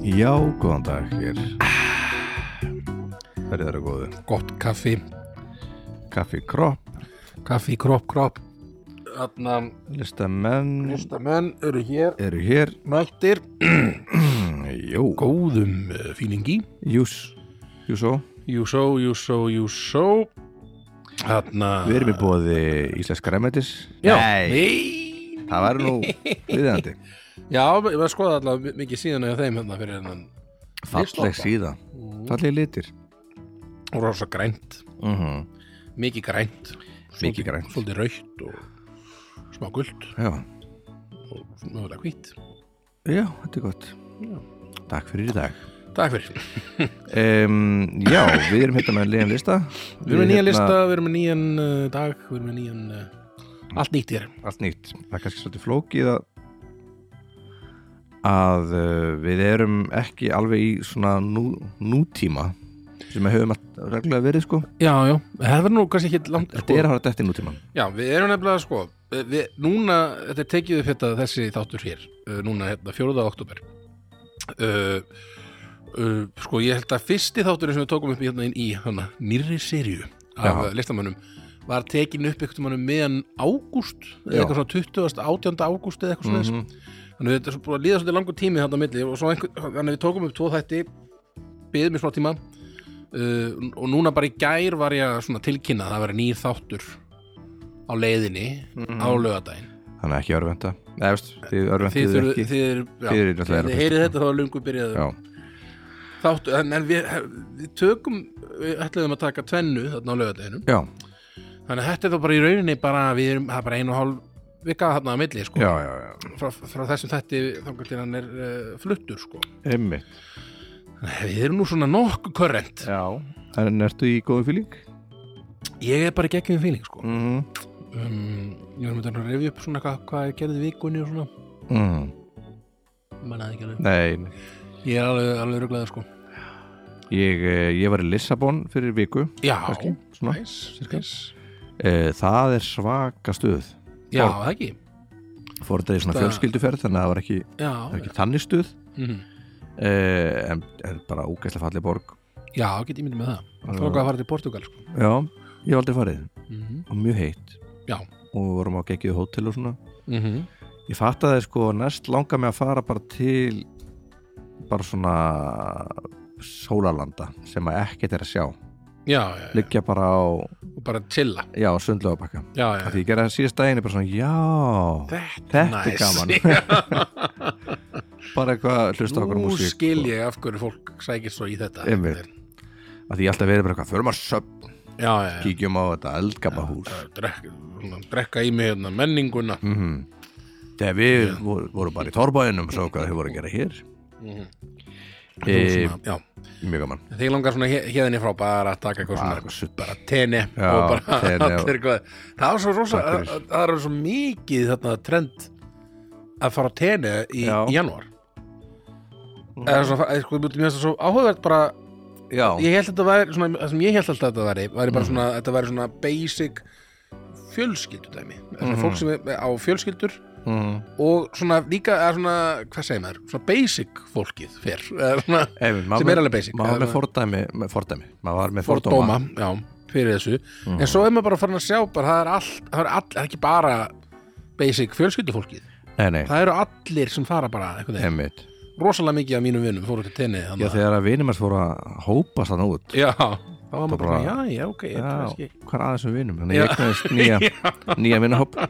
Já, góðan dag hér Verðið þeirra góðu gott kaffi, Kaffi Kropp, kaffi, kropp, kropp Þarna listamenn Mm. listamenn eru hér eru hér mættir Jó, góðum uh, fílingi jús Júsó, Jú svo, jú svo, jú Hérna. svo Þarna við erum í bóði Íslensk Græmetis Já, Nei, nei það var nú viðjandi Já, ég var að skoða allavega mikið síðan eða þeim hérna fyrir hennan Falleg síða, Mm. falleg litir og rosa grænt, mm -hmm. Mhm. mikið grænt Mikið grænt. Svolítið raukt og smá guld Já, og mögulega hvít já, þetta er gott Takk fyrir í dag Takk fyrir um, Já, við erum hérna með liðan lista Við erum með nýjan hérna- lista, við erum með nýjan uh, dag, við erum með nýjan uh, allt nýtt hér. allt nýtt það er kannski svolítið flókið að að uh, við erum ekki alveg í svona nú, nútíma sem við höfum alltaf reglulega verið sko Já, já, það verður nú kannski ekki langt sko. þetta er að hafa dætti nútíman Já, við erum nefnilega sko við, við- núna, þetta er tekið upp þetta þessi þáttur hér, uh, núna hérna 4. oktober uh, uh, sko ég held að fyrsti þátturinn sem við tókum upp í hérna inn í hana, nýrri serju af Já. já. listamönnum var tekin upp eitthvað mannum meðan ágúst Já. eða eitthvað svona 20. 18. ágúst eða eitthvað svona Mhm. þannig að þetta er svo búið að líða svolítið langur tími þarna á milli og svo einhver, þannig að við tókum upp tvo þætti byðum í smá tíma uh, og núna bara í gær var ég að svona tilkynna að það væri nýr þáttur á leiðinni Mhm. á lögadaginn þannig að ekki örvenda eða veist, þið þið örvenduðu þurfið ekki þið, er- já, Þið eruð náttúrulega þið að heyrið hlusta. þetta þá er lungu byrjaðu já, þáttu, en, en við, við tökum við ætlaðum að taka tvennu þarna á lögadaginu já, þannig að þetta er þá bara í rauninni bara við erum, það er bara einu og hálf vika þarna á milli sko já, já, já. frá, frá þessum þætti þangar til hann er uh, fluttur sko einmitt við erum nú svona nokkuð korrent já. en ertu í góðu fíling? Ég er bara í geggjum fíling sko Mm -hmm. um, Ég var með þetta að revja upp svona hvað, hvað ég gerði í vikunni og svona Mhm. Mennaði ekki alveg nei, nei. Ég er alveg, alveg ruglaði sko ég, eh, ég var í Lissabon fyrir viku Já, kannski, svona. næs, næs Eh, það er svaka stuð Já, Fór- það ekki fór þetta í svona Það- fjölskylduferð þannig að það var ekki, Já, það var ekki þannig stuð mhm. uh, en, en bara ógæslega fallið borg já get ég myndið með það Það var hvað að fara til Portugal sko já, ég hef aldrei farið Mhm. og mjög heitt Já. og við vorum á geggjuðu hótel og svona Mhm. ég fattaði sko næst langa mig að fara bara til bara svona sólalanda sem að ekkert er að sjá Já, já, já, liggja bara á, og bara chilla já, sundlaugabakka Já, já, því ég gerði það síðast daginn er bara svona, já þetta er gaman bara eitthvað að hlusta á okkur á Nú músík sko. skil ég af hverju fólk sækir svo í þetta Einmitt. og- af því ég alltaf verið bara eitthvað, förum að söp Já, já, já kíkjum á þetta eldgama hús Að drekka, svona, drekka í mig hérna menninguna mm þegar við voru, vorum bara í torbaðinum og svo hvað þau voru að gera hér Mhm. e, svona, Já mjög gaman Þegar Eh, langar svona hérðinni frá bara að taka eitthvað Bara svona sull. bara tenni Já, og bara tene og- allir eitthvað það er svo rosa, Takk fyrir. að- að- það er svo mikið þarna trend að fara á tenni í, Já. Mhm. í janúar eða svona, eða sko, mér finnst það svo áhugavert bara já, Mhm. ég held þetta væri, svona, það sem ég held alltaf að þetta væri væri bara svona, þetta væri svona basic fjölskyldudæmi mm Mhm. -hmm. fólk sem er á fjölskyldur mm, og svona líka, eða svona, hvað segir maður svona basic fólkið fer eða svona, Einmitt, maður Sem með- er alveg basic. maður var með fordæmi, með fordæmi maður var með fordóma, Mhm. fordóma, já, fyrir þessu en svo er maður bara farin að sjá bara, það, er all, það, er all, það er ekki bara basic fjölskyldufólkið, nei nei, það eru allir sem fara bara einhvern veginn, einmitt rosalega mikið af mínum vinnum fóru til tenni já, þannig að- þegar að vinum hans fóru að hópa sann út já, þá var maður bara- bara, já, já, ok þetta er já, kannski- hvað er aðeins um vinum þannig ég eknaðist nýja, nýja vinahóp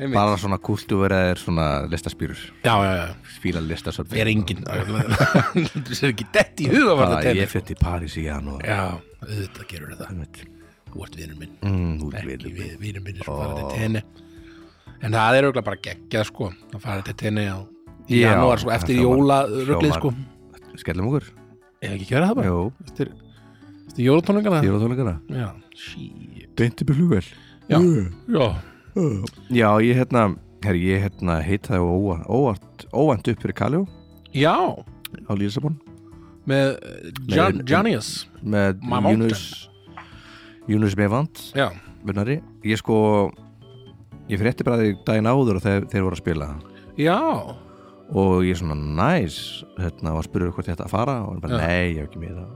Einmitt. bara svona kultúverðir svona listaspýrur, já, já, já, fíla listasöp við erum engin þú séu ekki dett í huga var það tenni ég fyrir til París í hann og já, auðvitað gerur það einmitt, þú ert vinnur minn, mm, út ekki við við- vinnur minn er svo fara til tenni en það er auðvitað bara geggjað sko að fara til tenni á í Já, janúar sko, það eftir hljómar- jólaröglið hljómar- sko skellum okkur Ef ekki gera það bara? Jú, Eftir, eftir jólatónleikana? jólatónleikana Já. Sí. Deinti byrjúvel Já. Já. Já, ég hérna herri, ég hérna heitaði óa- óvart óvænt upp fyrir Kaljó Já. á Lýsabon Með eh, John, Nei, Johnny's. með My mountain. Júnus Júnus Mevant Já. vinnari ég sko ég frétti bara því daginn áður og þeir, þeir voru að spila Já. og ég svona næs hérna var að spyrja hvort ég ætti að fara og hann bara Já. nei, ég hef ekki með það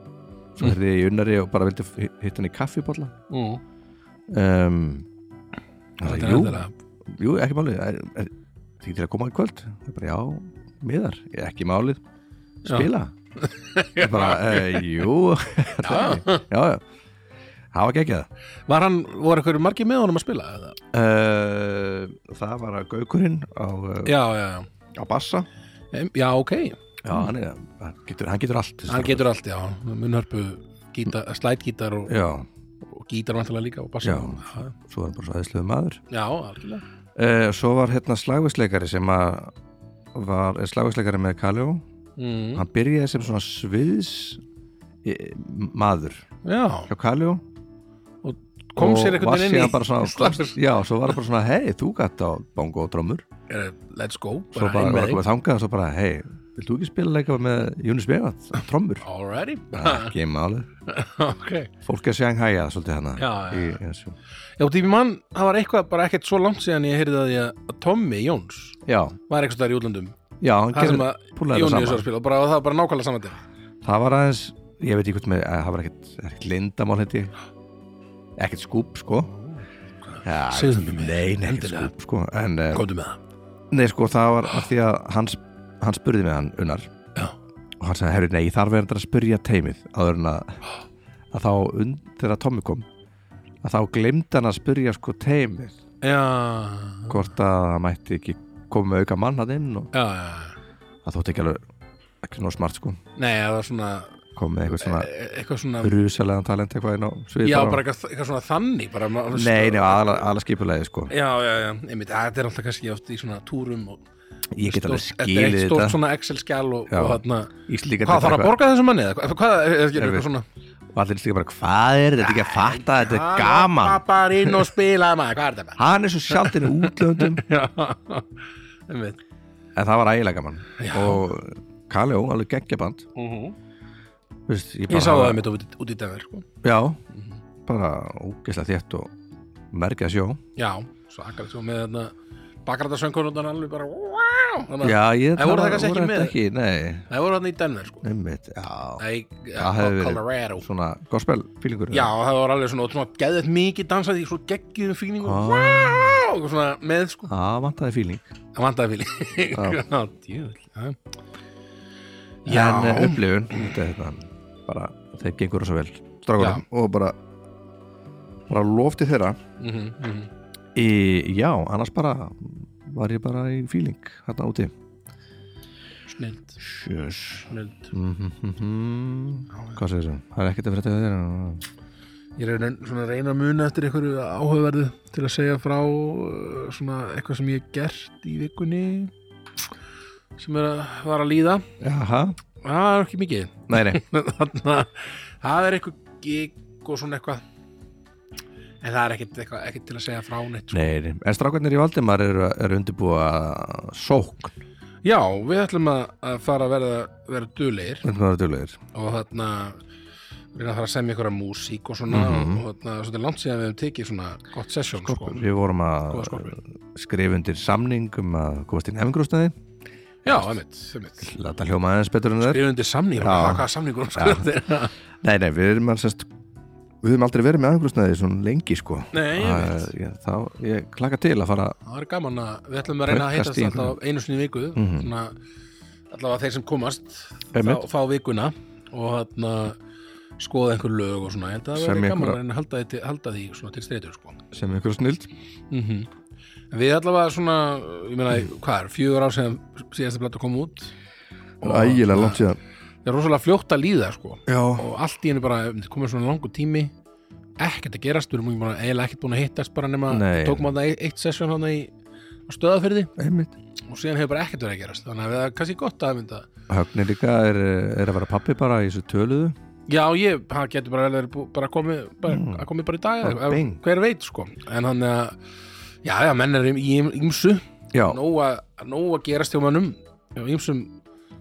svo hérði ég í unnari og bara vildi hi- hitta hann í kaffibolla Mm. um, hann Þetta sagði, er jú, endilega- jú, ekki málið er, er, er ekki til að koma í kvöld ég bara, já, miðar, ég ekki málið spila ég bara, e, jú já, já, já það var geggjað Var hann, voru eitthvað margir með honum að spila? Eða? uh, það var að gaukurinn á, uh, Já, já, já á bassa Em- Já, ok, já, hann, er, hann, getur, hann getur allt þessi Mm. hann strákur. getur allt, já Munnhörpu, gítar, slætgítar og, já, og gítar vantilega líka og bassa Já. já, svo er hann bara svo aðeinslega maður já, algjörlega uh, svo var hérna slagvisleikari sem að var er slagvisleikari með Kaljó mm. hann byrjaði sem svona sviðs eh, maður Já, hjá Kaljó kom og sér var einhvern veginn inn síðan í bara svona, slagsins. já, svo var það bara svona hei, þú gætt á bongo og drömmur Eh, Let's go, svo bara var að koma þangað og svo bara hei, vilt þú ekki spila leika með Júnis Bevat, drömmur Alrighty, ekki málið, ok fólk er sér hægjað svolítið hana Já, já. Í, þessu. Já, því mann, það var eitthvað bara ekkert svo langt síðan ég heyrði að ég að Tommy Jóns já, var eitthvað þar í útlöndum já, hann Það sem gerði að púlaði þetta Jóni Jóns var saman að spila og bara, það var bara nákvæmlega saman til Það var aðeins, ég veit ekki hvort með, eh, það var ekkert, ekkert lindamál hendi Ekkert skúb, sko ja, Segðu mér meira, Nei, nei, ekkert endilega. skúb, sko En, eh, Komdu með það nei, sko, það var af því að hann, sp- hann spurði með hann, Unnar Já. Og hann sagði, herru, nei, ég þarf verður að spurja teimið Áður en að, að þá, und, þegar Tommy kom Að þá glemd hann að spurja, sko, teimið Já, Hvort að hann mætti ekki koma með auka mann hann inn Og já, já það þótti ekki alveg, ekki nóg smart, sko Nei, það var svona Komið með eitthvað svona e- eitthvað svona rusalegan talent eitthvað inn á svið Já, bara- bara eitthvað, eitthvað svona þannig bara, maður- Nei, nei, aðalega aðal skipulegi sko Já, já, já, einmitt, þetta er alltaf kannski oft í svona túrum og Ég get alveg stórt- Þetta er skilið eitt þetta stórt svona Excel-skjál og, Já. og þarna Íslíkar Hvað þarf að borga þessum manni? eða Hvað, hvað er þetta Erfitt. eitthvað svona? Og allir íslíkar bara, hvað er þetta ekki að fatta Þetta er gaman Hann bara inn og spila maður, hvað er þetta? Hann er svo sjaldin í útlöndum Já, einmitt En það var ægilega gaman Já. Og Kaljó, alveg geggjaband Mhm. Vist, Ég sá það einmitt út, í- út í Denver sko. Já, bara ógeðslega þétt og merkja sjó Já, svakalegt svo með þarna Bakrætarsöngkonundan alveg bara wow, þannig að- Já, ég En voru það kannski ekki með? þetta ekki Nei, Það voru þarna í Denver sko. nefnit, já Nei, Það hefði verið Colorado Svona gospel fílingur Já, það var alveg svona, og svona geðið mikið dansað í svo geggjum fílingum Ah. wow, og svona með sko Það vantaði fíling það vantaði fíling Já. Já, djöfull, já. Já, en eh, upplifun þetta, er þetta, bara, þeir gengur svo vel strákurum og bara bara lofti þeirra mhm, mhm. í, já, annars bara var ég bara í feeling hérna úti Snilld, sjöss snilld hvað segir þessu? það er ekkert að fyrir þetta þeirra Ég er raun- svona að reyna að muna eftir einhverju áhugaverðu til að segja frá uh, svona eitthvað sem ég hef gert í vikunni sem er að var að líða jaha, Það er ekki mikið nei, nei, Þannig að það er eitthvað gig og svona eitthvað en það er ekkert, eitthvað, ekkert til að segja frá neitt sko. nei, nei. en strákarnir í Valdimar eru er undirbúa sókn, Já, við ætlum að, að fara að verða, vera dulegir undirbúa duglegir og þarna reyna að fara að semja ykkur að músík og svona Mhm. og þarna, svolítið langt síðan við hefum tekið svona gott sesjón sko. við vorum Góða að skorpur. skrifa undir samning um að komast inn hefingrústaði Já, einmitt, einmitt. þetta hljóma aðeins betur en það er Skrifundi samning, Já. hvað hvaða samningur um skrifundi? Nei, nei, við erum alveg Við höfum aldrei verið með aðeingrúsnaði svona lengi sko Nei, ég Það- veit. ég, Þá, ég klaka til að fara Það er gaman að við ætlum að reyna að Pökkast heitast í alltaf einu sinni í viku Mhm. svona allavega þeir sem komast Einmitt. fá, fá vikuna og þarna skoða einhver lög og svona, ég held að það Semja verði gaman einhverja- að reyna að halda því, halda því svona til streitur sko. sem ykkur snild mm Mm-hmm. Við allavega svona, ég meina, hvað er, fjögur ár sem síðasta blata kom út Ægilega langt síðan það er rosalega fljótt að líða sko Já, og allt í henni bara um, komið svona langur tími ekkert að gerast, við erum ekki bara eiginlega ekkert búin að hittast bara nema Nei. tókum að það eitt sessjón hann í stöðafyrði einmitt og síðan hefur bara ekkert verið að gerast þannig að það er kannski gott að mynda Högni líka er, er að vera pappi bara í þessu töluðu já, ég, það getur bara, vel verið bú- bara komið bara, að komið bara í dag Bara eða- Mm. bing. hver veit sko en hann að, já, já, menn er í ymsu Já, nóg að, nóg að gerast hjá mannum á ymsum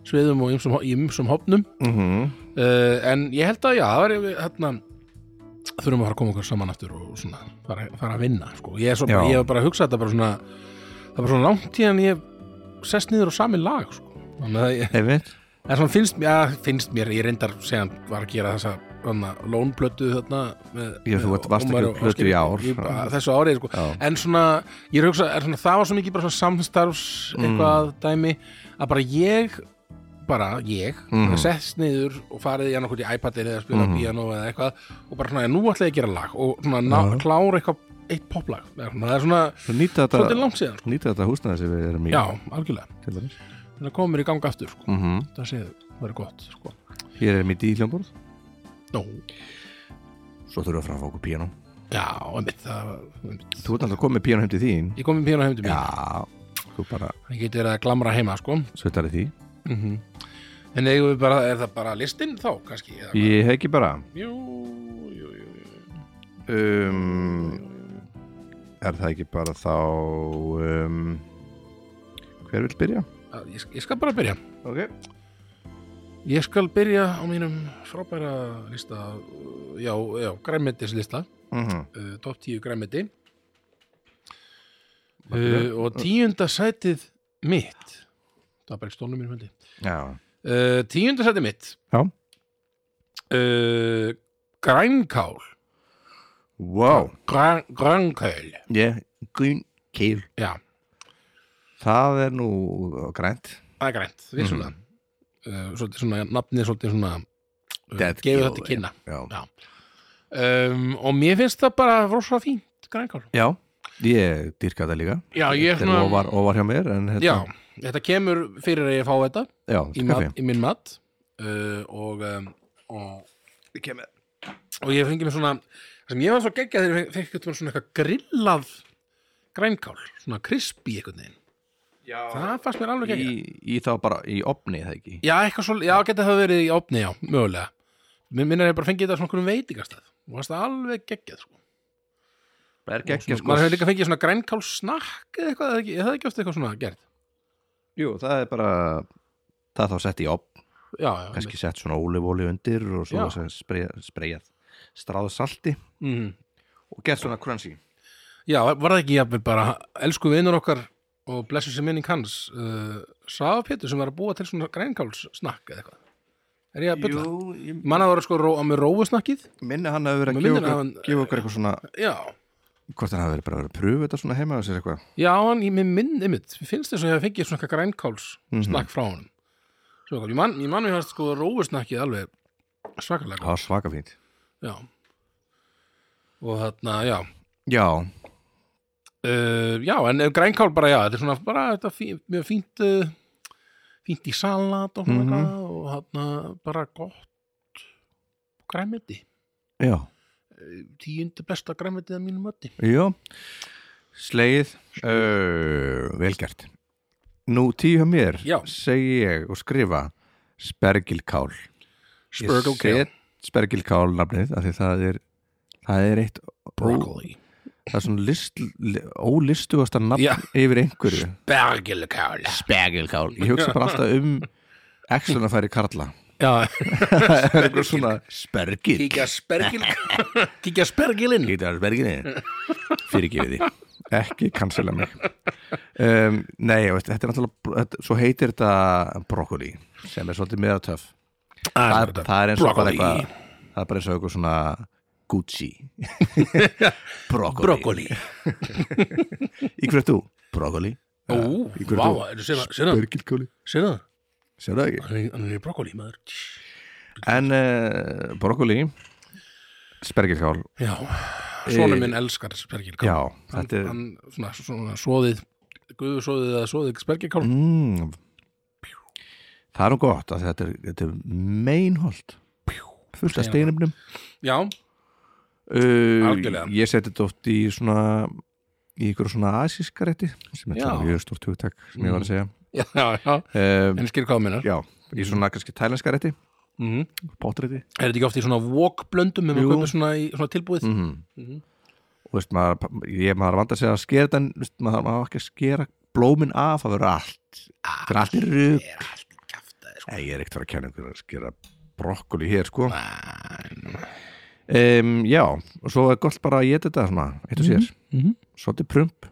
sviðum og ymsum, ymsum hopnum mm uh, en ég held að já, það var við hérna þurfum að fara að koma okkur saman aftur og svona fara, fara að vinna sko. ég, er svo, Já. ég hef bara að hugsa þetta bara svona það er bara svona langt í en ég sest niður á sami lag sko. Þannig að ég, einmitt en svona finnst, ja, finnst mér, ég reyndar segja hann var að gera þessa hana, lónblötu þarna með, Já, þú með ert- varst ekki Ómari með og plötu í Ásgeiri ár. bara þessu árið sko. Já. en svona, ég er að hugsa er svona, það var svo mikið bara svona samstarfs eitthvað dæmi, að bara ég bara ég, mm. sett niður og farið í annarkot í iPadið eða spila mm. piano eða eitthvað og bara svona, nú ætla ég að gera lag og svona, ná, klára eitthvað eitt poplag, Eða svona, það er svona Svo nýta svolítið þetta, langt síðan, sko. nýta þetta húsnaði sem við erum í já, algjörlega til dæmis. þannig að koma mér í gang aftur, sko. Mhm. það séðu, það er gott sko. Hér er mitt í hljómborð Nó, Svo þurfum við að framfá okkur píanó já, einmitt, það, einmitt. Þú ert alltaf komið með píanó heim til þín Ég kom í píanu heim til mín, Já, þú bara það getur verið að glamra heima, sko. söttar í því Mm En eigum við bara, er það bara listinn þá, kannski? Eða, hvað? Ég hef ekki bara Jú, jú, jú, jú. um, Er það ekki bara þá um, Hver vil byrja? Að Ég, ég skal bara byrja. Ok Ég skal byrja á mínum frábæra lista, uh, já, já, græmetislista, mm uh, top 10 græmeti. byrja? Uh, og tíunda sætið mitt, það var bara ekki stólnum mínum hundi. Já Uh, tíunda sætið mitt. Já. Uh, grænkál. Wow Græn, grænkál, Ég, grún keil já. Það er nú grænt Það er grænt, vissulega mm. uh, Svolítið svona, nafnið svolítið svona uh, Dead Gefið giveaway. þetta kynna Já, um, Og mér finnst það bara rosa fínt Grænkál já. Ég dyrka þetta líka Já, ég Þetta er ofar, ofar hjá mér en þetta, Já, þetta kemur fyrir að ég fá þetta já kaffi. Í, mat, í minn mat uh, og, um, og, Ég kem með og ég fengi mér svona það sem ég var svo geggjað þegar ég fekk eitthvað svona eitthvað grillað grænkál Svona krispi einhvern veginn Það fannst mér alveg geggjað í, í þá bara í opni það ekki Já, eitthvað svo, já, geti það verið í opni, já, mögulega Mér minnir að ég bara fengið þetta svona okkur veitingastæð og það er alveg geggjað, sko það er sko. Svona- Maður hefur líka fengið svona grænkálsnakk eða eitthvað, eða ekki, eða ekki oft eitthvað svona gert jú það er bara það er þá sett í opn Já, já, kannski sett svona ólifóli undir og svo Já. sem spreyjað, spreyjað stráð salti mm. og gert svona crunchy já, var það ekki jafnvel bara elsku vinur okkar og blessu sem minning hans uh, Svafa Pétur sem var að búa til svona grænkálsnakk eða eitthvað Er ég að byrja? ég Mann að það voru sko ró, á mér rófusnakkið minni hann að vera Maður að gefa minnir okkur, að hann- gefa okkur eitthvað svona Já, hvort hann hafi verið bara verið að pröfu þetta svona heima og sér eitthvað já, hann, ég minn, minn, einmitt Mér finnst þess að ég hef fengið svona eitthvað grænkálsnakk frá hann Svo, eitthvað. ég man, ég man mér hans sko rófusnakkið alveg svakalega það var svaka fínt gott. Já Og þarna, já, já Uh, já, en ef grænkál bara, já, þetta er svona bara þetta fí, mjög fínt uh, fínt í salat og svona Mhm. eitthvað og þarna bara gott græmiti já tíundi besta græmitið að mínum ötti já slegið uh, velgert nú tíu hjá mér Já. segi ég og skrifa spergilkál Ég Spurgle set Spergilkál nafnið af því það er það er eitt ó, Broccoli það er svona list, li- ólistugasta nafn Já. yfir einhverju Bergilkál Spergilkál ég hugsa bara alltaf um exlunafæri Karla Já, það er eitthvað svona Spergil kíkja spergilkál kíkja spergilinn Lítur að sperginni fyrir ekki við því ekki cancela mig um, nei, og þetta er náttúrulega þetta, svo heitir þetta brokkoli sem er svolítið meðatöf það, er- það er eins og bara Broccoli. eitthvað það er bara eins og eitthvað svona Gucci brokkoli Broccoli í hverju ert þú? brokkoli Ú, Í hverju vá, er það sér Bergilkóli það? Sér það ekki? Hann er- hann er í brokkoli, maður En uh, brokkoli Spergilkál Já, svona Eh, minn elskar spergilkál Já, þetta er hann, svona, svona svoðið guðsóðið eða svoðið spergikál mm, Það er nú gott að þetta er, þetta er meinholt fullt af steinumnum já, uh, Algjörlega. Ég seti þetta oft í svona í ykkur svona asíska rétti sem þetta Já. Mm. er mjög stórt hugtak sem ég var að segja já, já, já. um, en skil hvað minnar Já, í svona kannski tælenska rétti mm potrétti er þetta ekki oft í svona wokblöndum ef Mm-hmm. Jú. maður kaupir svona, í, svona tilbúið mm Mhm. og veist maður, ég maður vand að segja að skera þetta en veist, maður má ekki að skera blómin af það verður allt það er allt í rugg er allt kæftað sko. Nei, ég er ekkert að fara að kenna einhverjum að skera brokkoli hér sko Nei. um, já, og svo er gott bara að geta þetta svona, eitt og sér Mhm. svolítið prump,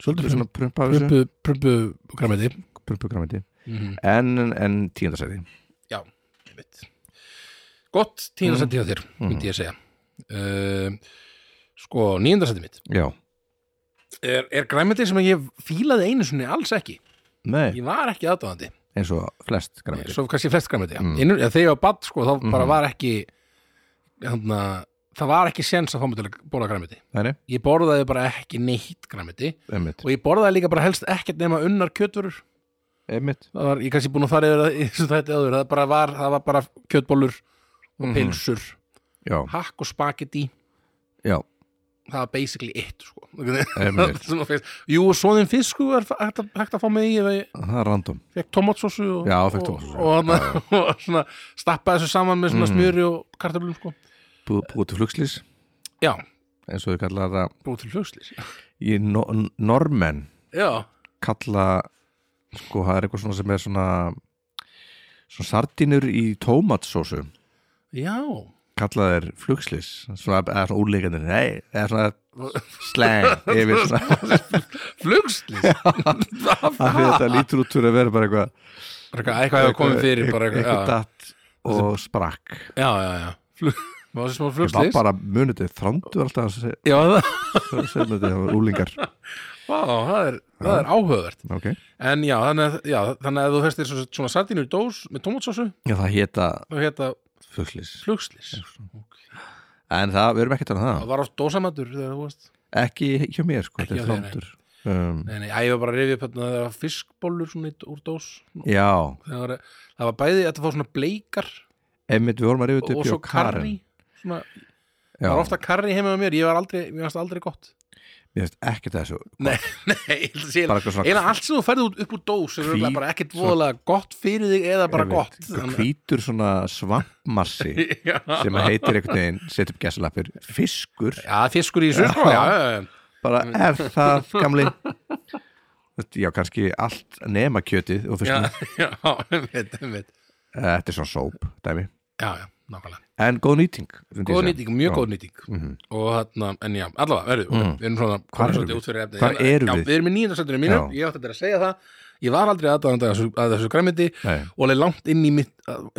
svolítið svona prump af þessu prumpu, prumpu græmiti prumpugrammendi mm -hmm. en, en tíundasæði Já, ég veit Gott Mm. tíðarsætti hjá þér, myndi ég að segja uh, Sko, níundarsætti mitt Mhm, Já, er, er græmiti sem ég fílaði einu sinni alls ekki nei, Ég var ekki aðdóðandi eins og flest grammendi Svo kannski flest græmiti, já Mm. mm. Þegar ég var badd, sko, þá bara Mhm. var ekki hana, Það var ekki séns að fá mig til að borða græmiti Nei, nei, Ég borðaði bara ekki neitt græmiti einmitt, Og ég borðaði líka bara helst ekkert nema unnar kjötvörur einmitt Það var, ég kannski búin að fara yfir það í þessu þætti áður Það bara var, það var bara kjötbólur og Mhm. pilsur Já, hakk og spagetti já, það var basically it sko. Það einmitt, sem að finnst. jú, og svoðin fisk er hægt að, hægt að fá með í ef ég það er random fekk tomatsósu og, Já, fékk og, tómatsósu, já. Mm. og, og, og svona, stappaði þessu saman með svona smjöri og kartöflum sko. Bú- Búið til flugslýs, já, eins og þau kalla það búið til hljóðslis Í no normenn já, kalla sko, það er eitthvað svona sem er svona svona sardínur í tómatsósu já kalla þeir flugslis svona, eða svona úrleikandir, nei eða svona slang yfir svona flugslis af því að þetta lítur út fyrir að vera bara eitthvað eitthvað hefur komið fyrir bara, eitthvað, eitthvað eitthvað, datt og sprakk já, já, já, já. Flug, var þessi ég smá var flugslis bara munið þrándu alltaf að já, það, segja þetta var úlingar á, það, er, það er áhugavert okay. en já, þannig að, já, þannig að ef þú festir svona- svona sardínu í dós með tomatsósu já það hétta þá heita flugslis flugslis en það, við erum ekkert að um Það það var oft dósamatur þegar þú veist ekki hjá mér sko, Ekki þetta er hjá þér, þrándur um, Nei, nei, ég var bara að rifja upp hérna þegar það var fiskbólur svona í- úr dós já, Það var, það var bæði að það fór svona bleikar einmitt við vorum að rifið og, upp og hjá svo karri svona, Það var ofta karri heima með mér, ég var aldrei, mér varst aldrei gott Mér finnst ekkert að þessu Nei, nei, ég held að sé bara eitthvað svona Eða allt sem þú ferði út upp úr dós er Hví- örugglega bara ekkert voðalega gott fyrir þig eða bara ég veit, gott eitthvað hvítur svona svampmassi sem að heitir einhvern veginn setja upp gæsalappir, fiskur Já, fiskur í þessu, sko, já, já, já, bara er það gamli Þetta- já kannski allt nema kjötið og já, fiskur, já, einmitt, einmitt. þetta er svona sóp dæmi, já, já, nákvæmlega en góð nýting myndi ég Góð segja. nýting, mjög Já. góð nýting Mhm. og þarna, en já, allavega, verðu mm. við erum svona, Hvar erum komum svolítið við? út fyrir efni Hvar Ég- erum já, við? Við erum í nýjöndarsættinu mínu, Já. ég átti þetta að segja það ég var aldrei aðdáðandi að þessu, að þessu græmiti Nei. og leið langt inn í, mitt,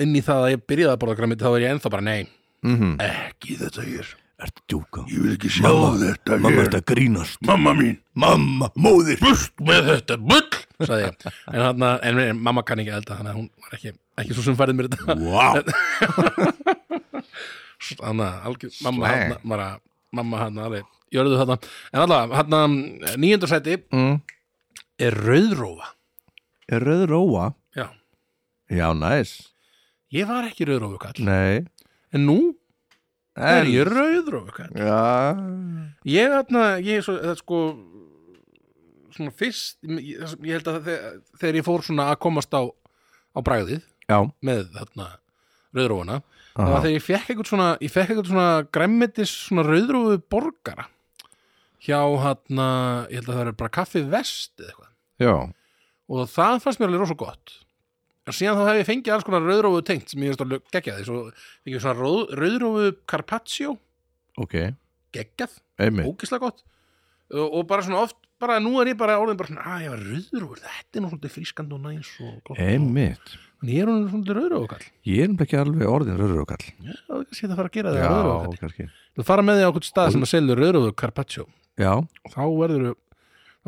inn í það að ég byrjaði að borða græmiti þá er ég ennþá bara, nei, Mhm. ekki þetta hér Ertu djúka? ég vil ekki sjá mamma, þetta Mamma þetta grínast mamma mín, Mamma, móðir burt með þetta, bull sagði ég, en, þarna, en, en mamma kann ekki elda, þannig að hún var ekki, ekki svo sem færið mér þetta wow. Hanna, algjör, mamma Slang. hann bara, mamma hann alveg, jörðu þarna en hérna, allavega, hann nýjöndarsæti mm. er rauðrófa Er Rauðróa? Já. Já, næs Ég var ekki rauðrófukall Nei En nú er En- ég rauðrófukall Já Ég, þarna, ég er svo, það er sko Svona fyrst Ég, það sem- ég held að þegar, þegar ég fór svona að komast á Á bragðið Já með þarna rauðrófuna Það Aha. var þegar ég fekk eitthvað svona Ég fekk eitthvað svona græmmetis svona rauðrófu borgara Hjá hann Ég held að það er bara kaffi vest eða eitthvað Já, og það fannst mér alveg rosa gott og síðan þá hef ég fengið alls konar rauðrófu tengt sem ég veist alveg geggjað því svo fengið ég svona rauð- rauðrófu carpaccio ok, geggjað, einmitt ógislega gott og, og bara svona oft, bara nú er ég bara orðin bara svona, að ég var rauðrófur, þetta er nú svolítið frískand og næs og gott Einmitt en ég er hún svolítið rauðrófukall Ég er nefnilega ekki alveg orðin röðurökall já, það er kannski það að fara að gera það Já, rauðrófukall kannski þú fara með því á okkur stað sem að selja rauðrófu carpaccio Já, þá verður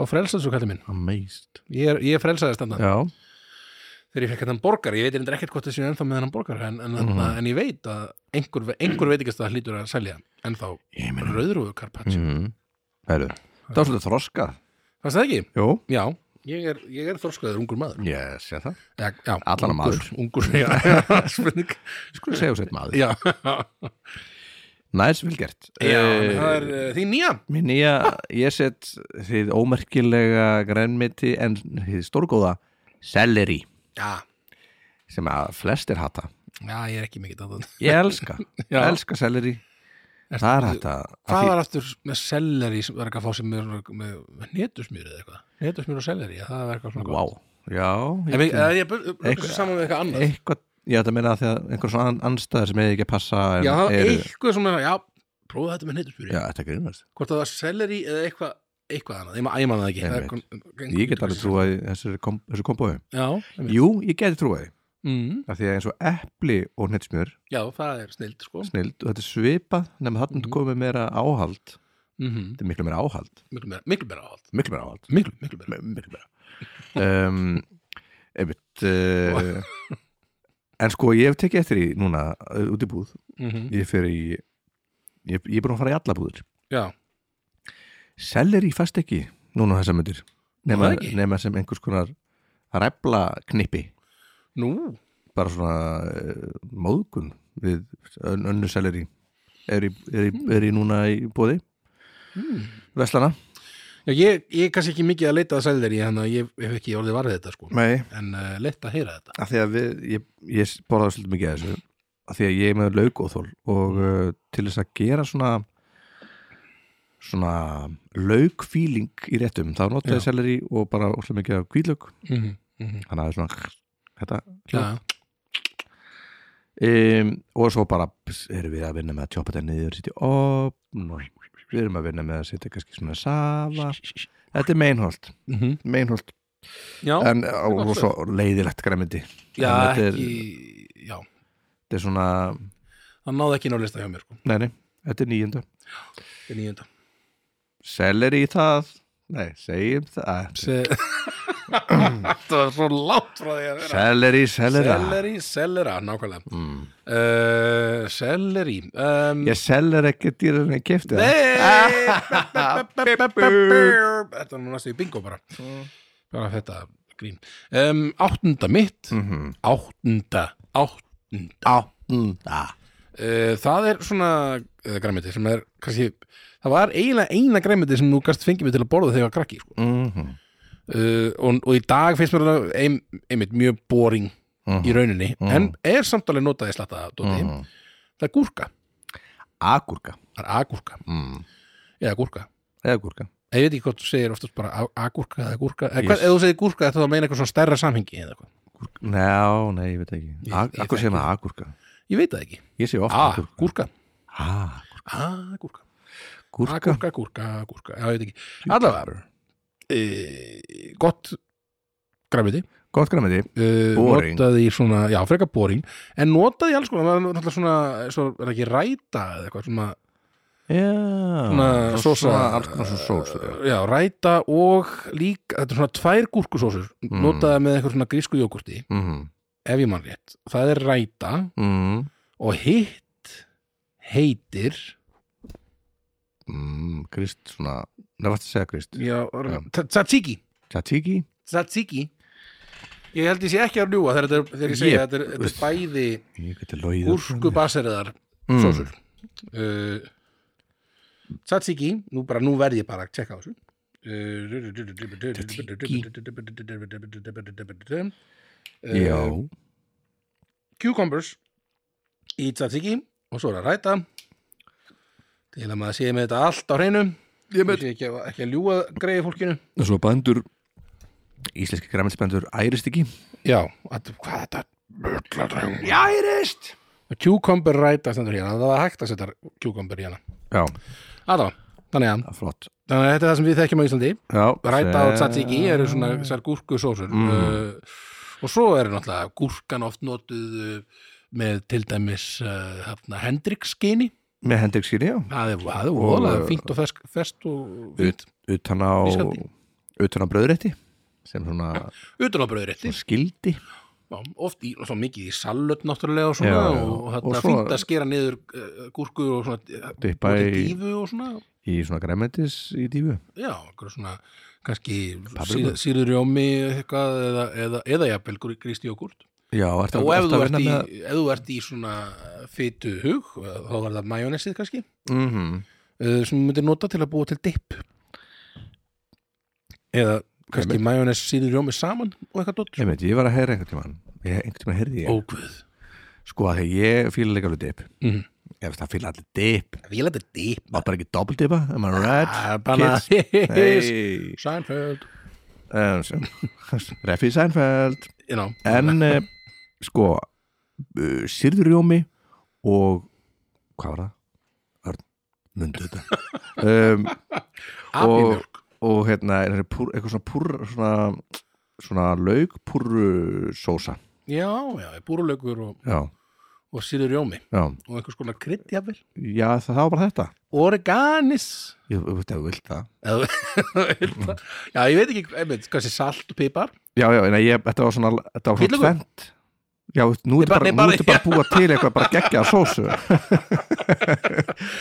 þá frelsaðist þú kallið minn amazed ég, er, ég frelsaðist þarna Já, þegar ég fekk hennan borgar, ég veit reyndar ekkert hvort þessi ennþá með hennan borgar, en, en, mm Mhm. en ég veit að einhver, einhver veit ekki að það hlýtur að selja ennþá ég meina rauðrúðu karpaccio mm. Mhm. Heyrðu, Það er svolítið þroskað fannst það ekki? Jú, Já, ég er, ég er þorskaður ungur maður ég sé það já, já, Allan að ungur, maður. ungur, já, spurning Skulum segja sér maður já, Næs, vel gert já Eh, það er uh, því nýja Mín nýja, ég set þið ómerkilega grænmiti en þið stórgóða celery já, sem að flestir hata já, ég er ekki mikið að Ég elska, Já. elska celery Það er hægt að hvað var aftur með selleri sem var ekki að fá sér með, með, með netusmjör eða eitthvað netusmjör og selleri, já, það er eitthvað svona Vá, já en ég, ég, ég, ég, ég, Eitthvað- saman með eitthvað annað eitthvað, ég ætla að meina að því að einhver svona ann- andstæður sem eða ekki að passa en Já, það var eru, eitthvað sem er, já, prófa þetta með neytuspjúri já, þetta er grínast Hvort það var selleri eða eitthvað eitthvað annað, ég ma- ég man það ekki Það er Einmitt. kon- Ég get alveg trúið þessu, kom, þessu kombói Já, einmitt. Jú, ég geti trúið Mm, af því að eins og epli og hnetsmjör já, það er snild sko snild og þetta er svipað nema þarna Mhm. komið meira áhald mm þetta er miklu meira áhald miklu, meira, miklu meira áhald Mhm. miklu meira áhald Miklu, miklu meira M- miklu meira um, einmitt uh, en sko ég hef tekið eftir í núna uh, út í búð Mhm. ég fer í ég, ég er búin að fara í alla búður Já, seller í fast ekki núna þessar myndir nema, Það ekki? nema sem einhvers konar ræfla knippi nú bara svona uh, móðgun við ön, önnu seleri er í, er, í, er í núna í bóði Veslana Já, ég, ég er kannski ekki mikið að leita að selja þér í hann að ég hef ekki orðið varðið þetta sko Nei, En uh, leitt að heyra þetta af því að við, ég, ég borðaði svolítið mikið að þessu af því að ég er með laugóþól og uh, til þess að gera svona svona laugfíling í réttum, þá notaði Já. seleri og bara óslega mikið af kvíðlaug mm -hmm. Mm -hmm. hann hafði svona hérna. þetta Já, um, og svo bara ps, erum við að vinna með að tjópa þetta niður setja í opn og við erum að vinna með að setja kannski svona safa þetta er meinholt, mm -hmm. meinholt já, Mhm. en og, og svo leiðilegt græmyndi já en þetta er- ekki Já, þetta er svona, það náði ekki ná lista hjá mér sko nei nei, þetta er nýjunda Þetta er nýjönda seleri í það, nei, segjum það Þetta var svo látt frá því að vera seleri, selera Selleri, sellera, nákvæmlega mm. uh, Selleri um, ég seler ekki dýrar en ég kefti Nei Þetta er nú næstu í bingo bara Bara þetta grín um, Áttunda mitt mm -hmm. Áttunda, áttunda mm, áttunda uh, Það er svona uh, græmiti sem er kannski Það var eiginlega eina græmiti sem nú gast fengið mig til að borða þegar ég var krakki sko. mm -hmm. uh, og, og í dag finnst mér það ein, einmitt mjög boring í rauninni Mhm. en er samt alveg notaði slatta dóti Mm. það er gúrka, agurka það er agúrka mm. eða gúrka, eða gúrka ég veit ekki hvort þú segir oftast bara a- agúrka eða gúrka eða Ég- hvað, ef þú segir gúrka þá meina eitthvað svona stærra samhengi eða eitthvað, Njá, nei, ég veit ekki Ég- Ak- ég Akkur þekki. segir maður agurka ég veit það ekki Ég segi ofta a, agurka gúrka, Ah, a, gúrka Gúrka agúrka, gúrka, gúrka, já, ég veit ekki allavega, e, gott græmiti Gott græmiði uh, Boring. notaði í svona, já, frekar boring en notaði í alls konar, maður náttúrulega svona svo er það ekki ræta eða eitthvað svona, Já Svona Svo- sósa- svona Alls konar svona sós já, ræta og líka, þetta er svona tvær gúrkusósur Mm. notaði með eitthvað svona grísku jógurti Mhm, ef ég mann rétt, það er ræta mhm, og hitt heitir mhm, Krist svona Nei, varstu að segja Krist já, Já. ta- tzatziki Tzatziki tzatziki ég held ég sé ekki að ljúga þegar, þetta er- þegar ég segi Ég- að þetta er, þetta er bæði Ég geti logið að gúrku svona. baseriðar Mm. sósur uh, tzatziki nú bara, nú verð ég bara að tjekka á þessu Eh, tzatziki Eh, Já cucumbers í tzatziki og svo er að ræta til að maður sé með þetta allt á hreinu ég með- sé ekki, að- ekki að ljúga greiði fólkinu Og Svo bandur Íslenski græmiðsbandur Ærist ekki já, að, hvað er þetta Ærist cucumber ræta stendur hérna það var hægt að setja cucumber hérna Já, Alla, þannig, að, það er flott þannig að þetta er það sem við þekkjum á Íslandi Já, ræta og sem- tzatziki eru svona þessar gúrkusósur Mm. uh, og svo eru náttúrulega gúrkan oft notuð uh, með til dæmis uh, hérna, Hendrix skinni Með hendrikskinni, já Það er, það er Og- voðalega fínt og fersk, ferst og fínt Utan á Íslandi. Utan á bröðrétti Sem svona utan á bröðurétti Svona skildi oft í, og svo mikið í salöt náttúrulega og svona Já, já. og, og Og þarna svo- fínt að skera niður uh, gúrku og svona Dippa út í í, dífu og svona í svona græmetis í dífu já, einhverju svona kannski Papriku. síð- síður jómi eitthvað eða, eða, eða jafnvel gr- gríst jógurt Já, ertu og ef ertu þú, að ert vinna í, með ef þú ert í svona fytu hug þá var það majónesið kannski mm -hmm. uh, sem þú myndir nota til að búa til dip eða kannski majónes síður jómi saman og eitthvað dótt Ég veit, ég var að heyra einhvern tímann ég, einhvern tímann heyrði ég Ógvöð Sko að því ég fíla líka alveg dip Mhm. Ég veist það fíla allir dip Við letum dip Má bara ekki doppeldipa, am I right? Ah, Bara Hey. Seinfeld Um, sem- Refi Seinfeld you know. En uh, sko uh, Sýrðurjómi og hvað var það? Örn, mundu þetta um, Apimjólk og hérna er púr, eitthvað svona púr svona, svona laukpúru sósa já, já, búrulaukur og, já, og síður rjómi já, og einhvers konar krydd, jafnvel já það, það var bara þetta Oreganis ég veit að þú vilt það Eða- Mm. Já, ég veit ekki, einmitt, kannski salt og pipar já, já, en ég, þetta var svona, þetta var svona Hvítlaukur? tvent já, nú Nei, ertu bara- bara, nei, nú bara- ertu bara að búa til eitthvað bara geggja sósu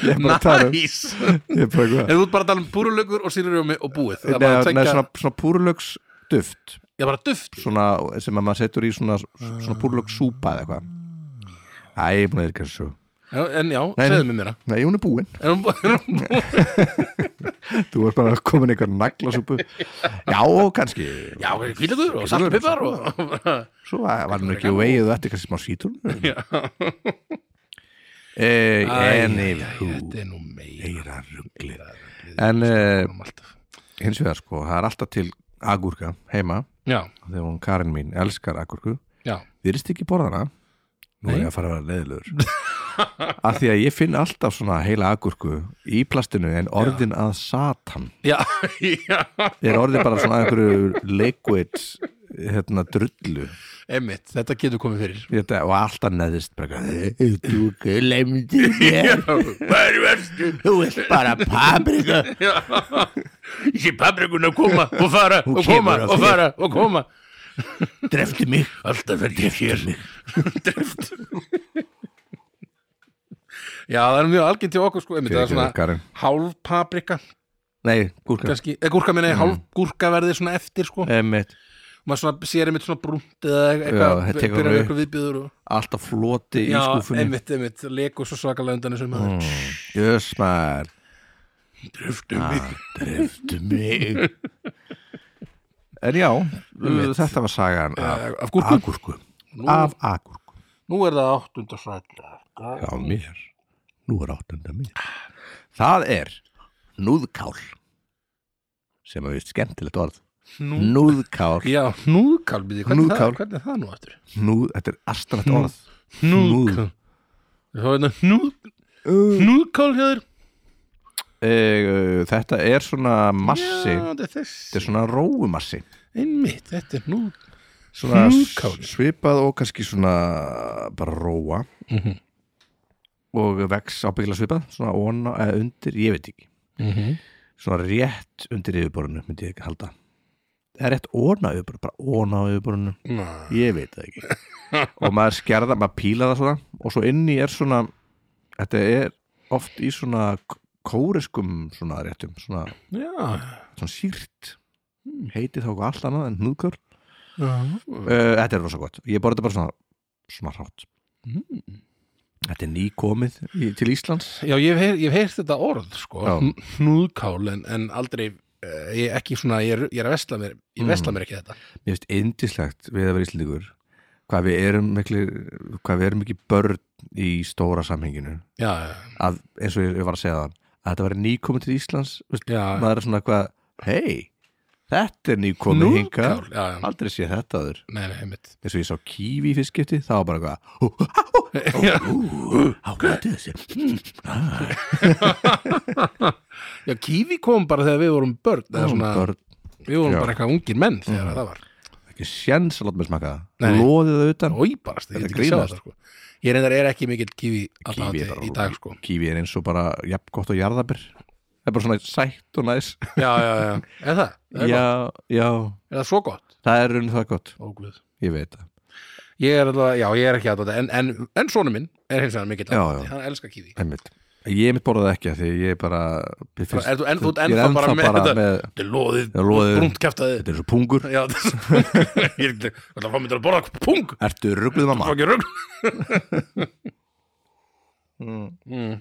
ég er bara að tala um Næs ég er bara eitthvað En þú ert bara að tala um búrulaukur og sírurjómi og búið Það er bara að Nei, nei, tekja, svona, svona púrlöks duft ég er bara duft svona, sem að maður setur í svona, svona púrlöks súpa eða eitthvað Æ, ég er búin að eitthvað svo Já, En já, Nei, segðu mér mér það Nei, hún er búin Er hún bú- er hún bú- Þú er bara komin einhver naglasúpu Já, og kannski Já, hvítlaugur og salt og pipar og Svo var var hún ekki vegið þetta kannski smá sítun Já. eh, Æ, En æ, æ, yfir hú Þetta er nú meira Eira rugli ruglið En eh, um alltaf. hins vegar sko, það er alltaf til agúrka heima Já, Þegar hún Karin mín elskar agúrku já virðist ekki borðana nú er Nei. ég að fara að vera leðilegur af því að ég finn alltaf svona heila agurku í plastinu en orðin að satan Já, já, er orðin bara svona einhverju liquid hérna drullu einmitt, þetta getur komið fyrir þetta, og alltaf neðist bara, "Eh, þú glemdi mér Hver verðstu? þú ert bara paprika Já, ég sé paprikun að koma og fara Hún og koma kemur að og þér. fara og koma drefti mig Alltaf verði ég hér Drift Já, það er mjög algjönd til okkur sko einmitt, Það er svona Karin. hálf paprika nei, gúrka kannski, eða gúrka Mm. minni, hálf gúrka verði svona eftir sko Einmitt. maður svona sér einmitt svona brúnt eða Já, eitthvað, þetta tekur byrjar við. eitthvað viðbjöður og... alltaf floti í Já, skúfunni einmitt, einmitt, leku svo svakalega undan þessum mm. jösmar Driftum við dreftu mig en já, þetta var sagan Ah. af, Eh, Af gúrku, agúrku Nú- af agúrku nú er það áttunda sætla hjá mér, nú er áttunda mér það er núðkál sem er vist skemmtilegt orð Nú, núðkál, já, núðkál býði, hvernig, það- Hnúðkál. hvernig er það nú aftur? núð, þetta er astanlegt orð Núðkál Það var þetta hérna hnúð- Núð. hnúðkál hjá þér e, þetta er svona massi Já, þetta er þetta þessi er svona róumassi Einmitt, þetta er hnúð svona Hnúðkál. svipað og kannski svona bara róa Mhm. og vex ábyggilega svipað svona óna, eða undir, ég veit ekki Mhm. svona rétt undir yfirborðinu myndi ég ekki halda það er rétt óna yfirborðinu, bara óna yfirborðinu Ná, ég veit það ekki og maður skerða, maður píla það svona og svo inni er svona þetta er oft í svona k- kóreskum svona réttum svona, Já svona sýrt heiti þá eitthvað allt annað en hnúðkál Já. uh, þetta er rosa gott, ég borði þetta bara svona svona rátt Mm. þetta er nýkomið í, til Íslands Já, ég hef, heyr- ég hef heyrt þetta orð sko, Já. hn- hnúðkál en, en aldrei eh, ég, ekki svona, ég er, ég er að vesla mér Mm. ég vesla mér ekki þetta mér finnst indislegt við að vera íslendingur hvað við erum mikli hvað við erum ekki börn í stóra samhenginu Já, já, að eins og ég, ég var að segja það að þetta var nýkomið til Íslands veist, já, maður er svona eitthvað, hei þetta er nýkomið Hnúðkál, hinga já, já, aldrei sé þetta aður nei, nei, einmitt eins og ég sá kífi í fiskskipti það var bara eitthvað Já, ákvæði þessi já kífi kom bara þegar við vorum börn eða Hm, svona, börn, við vorum já. Mm. bara eitthvað ungir menn þegar það var ekki séns að láta mig smaka Nei, það nei. loðið það utan Ói, bara, ég Þetta get ekki sjá grínast. þetta sko. Ég reyndar er ekki mikill kífi Kíwi er aðdáandi bara- í dag sko. kífi er eins og bara jafn gott og jarðabir það er bara svona sætt og næs Já, já, já, er það? Er, gott? já, já, er það svo gott? það er raun það gott Ógluð. ég veit það Ég er alltaf, já, ég er ekki aðdáandi en, en, en sonu minn er hins vegar mikill Já, aðdáandi, já. hann elskar kífi einmitt. ég mitt borðað ekki af því ég er bara mér Bara, finnst- er þú- en þú ert ég er ennþá bara með þetta- með Þetta er loðið, Já, loðið. brúnt kæftaði þetta er svo pungur Já, þetta er svo Ég er ekki, þetta fá mér til að borða pung ertu ruggluð mamma Fá ekki rugg Mm.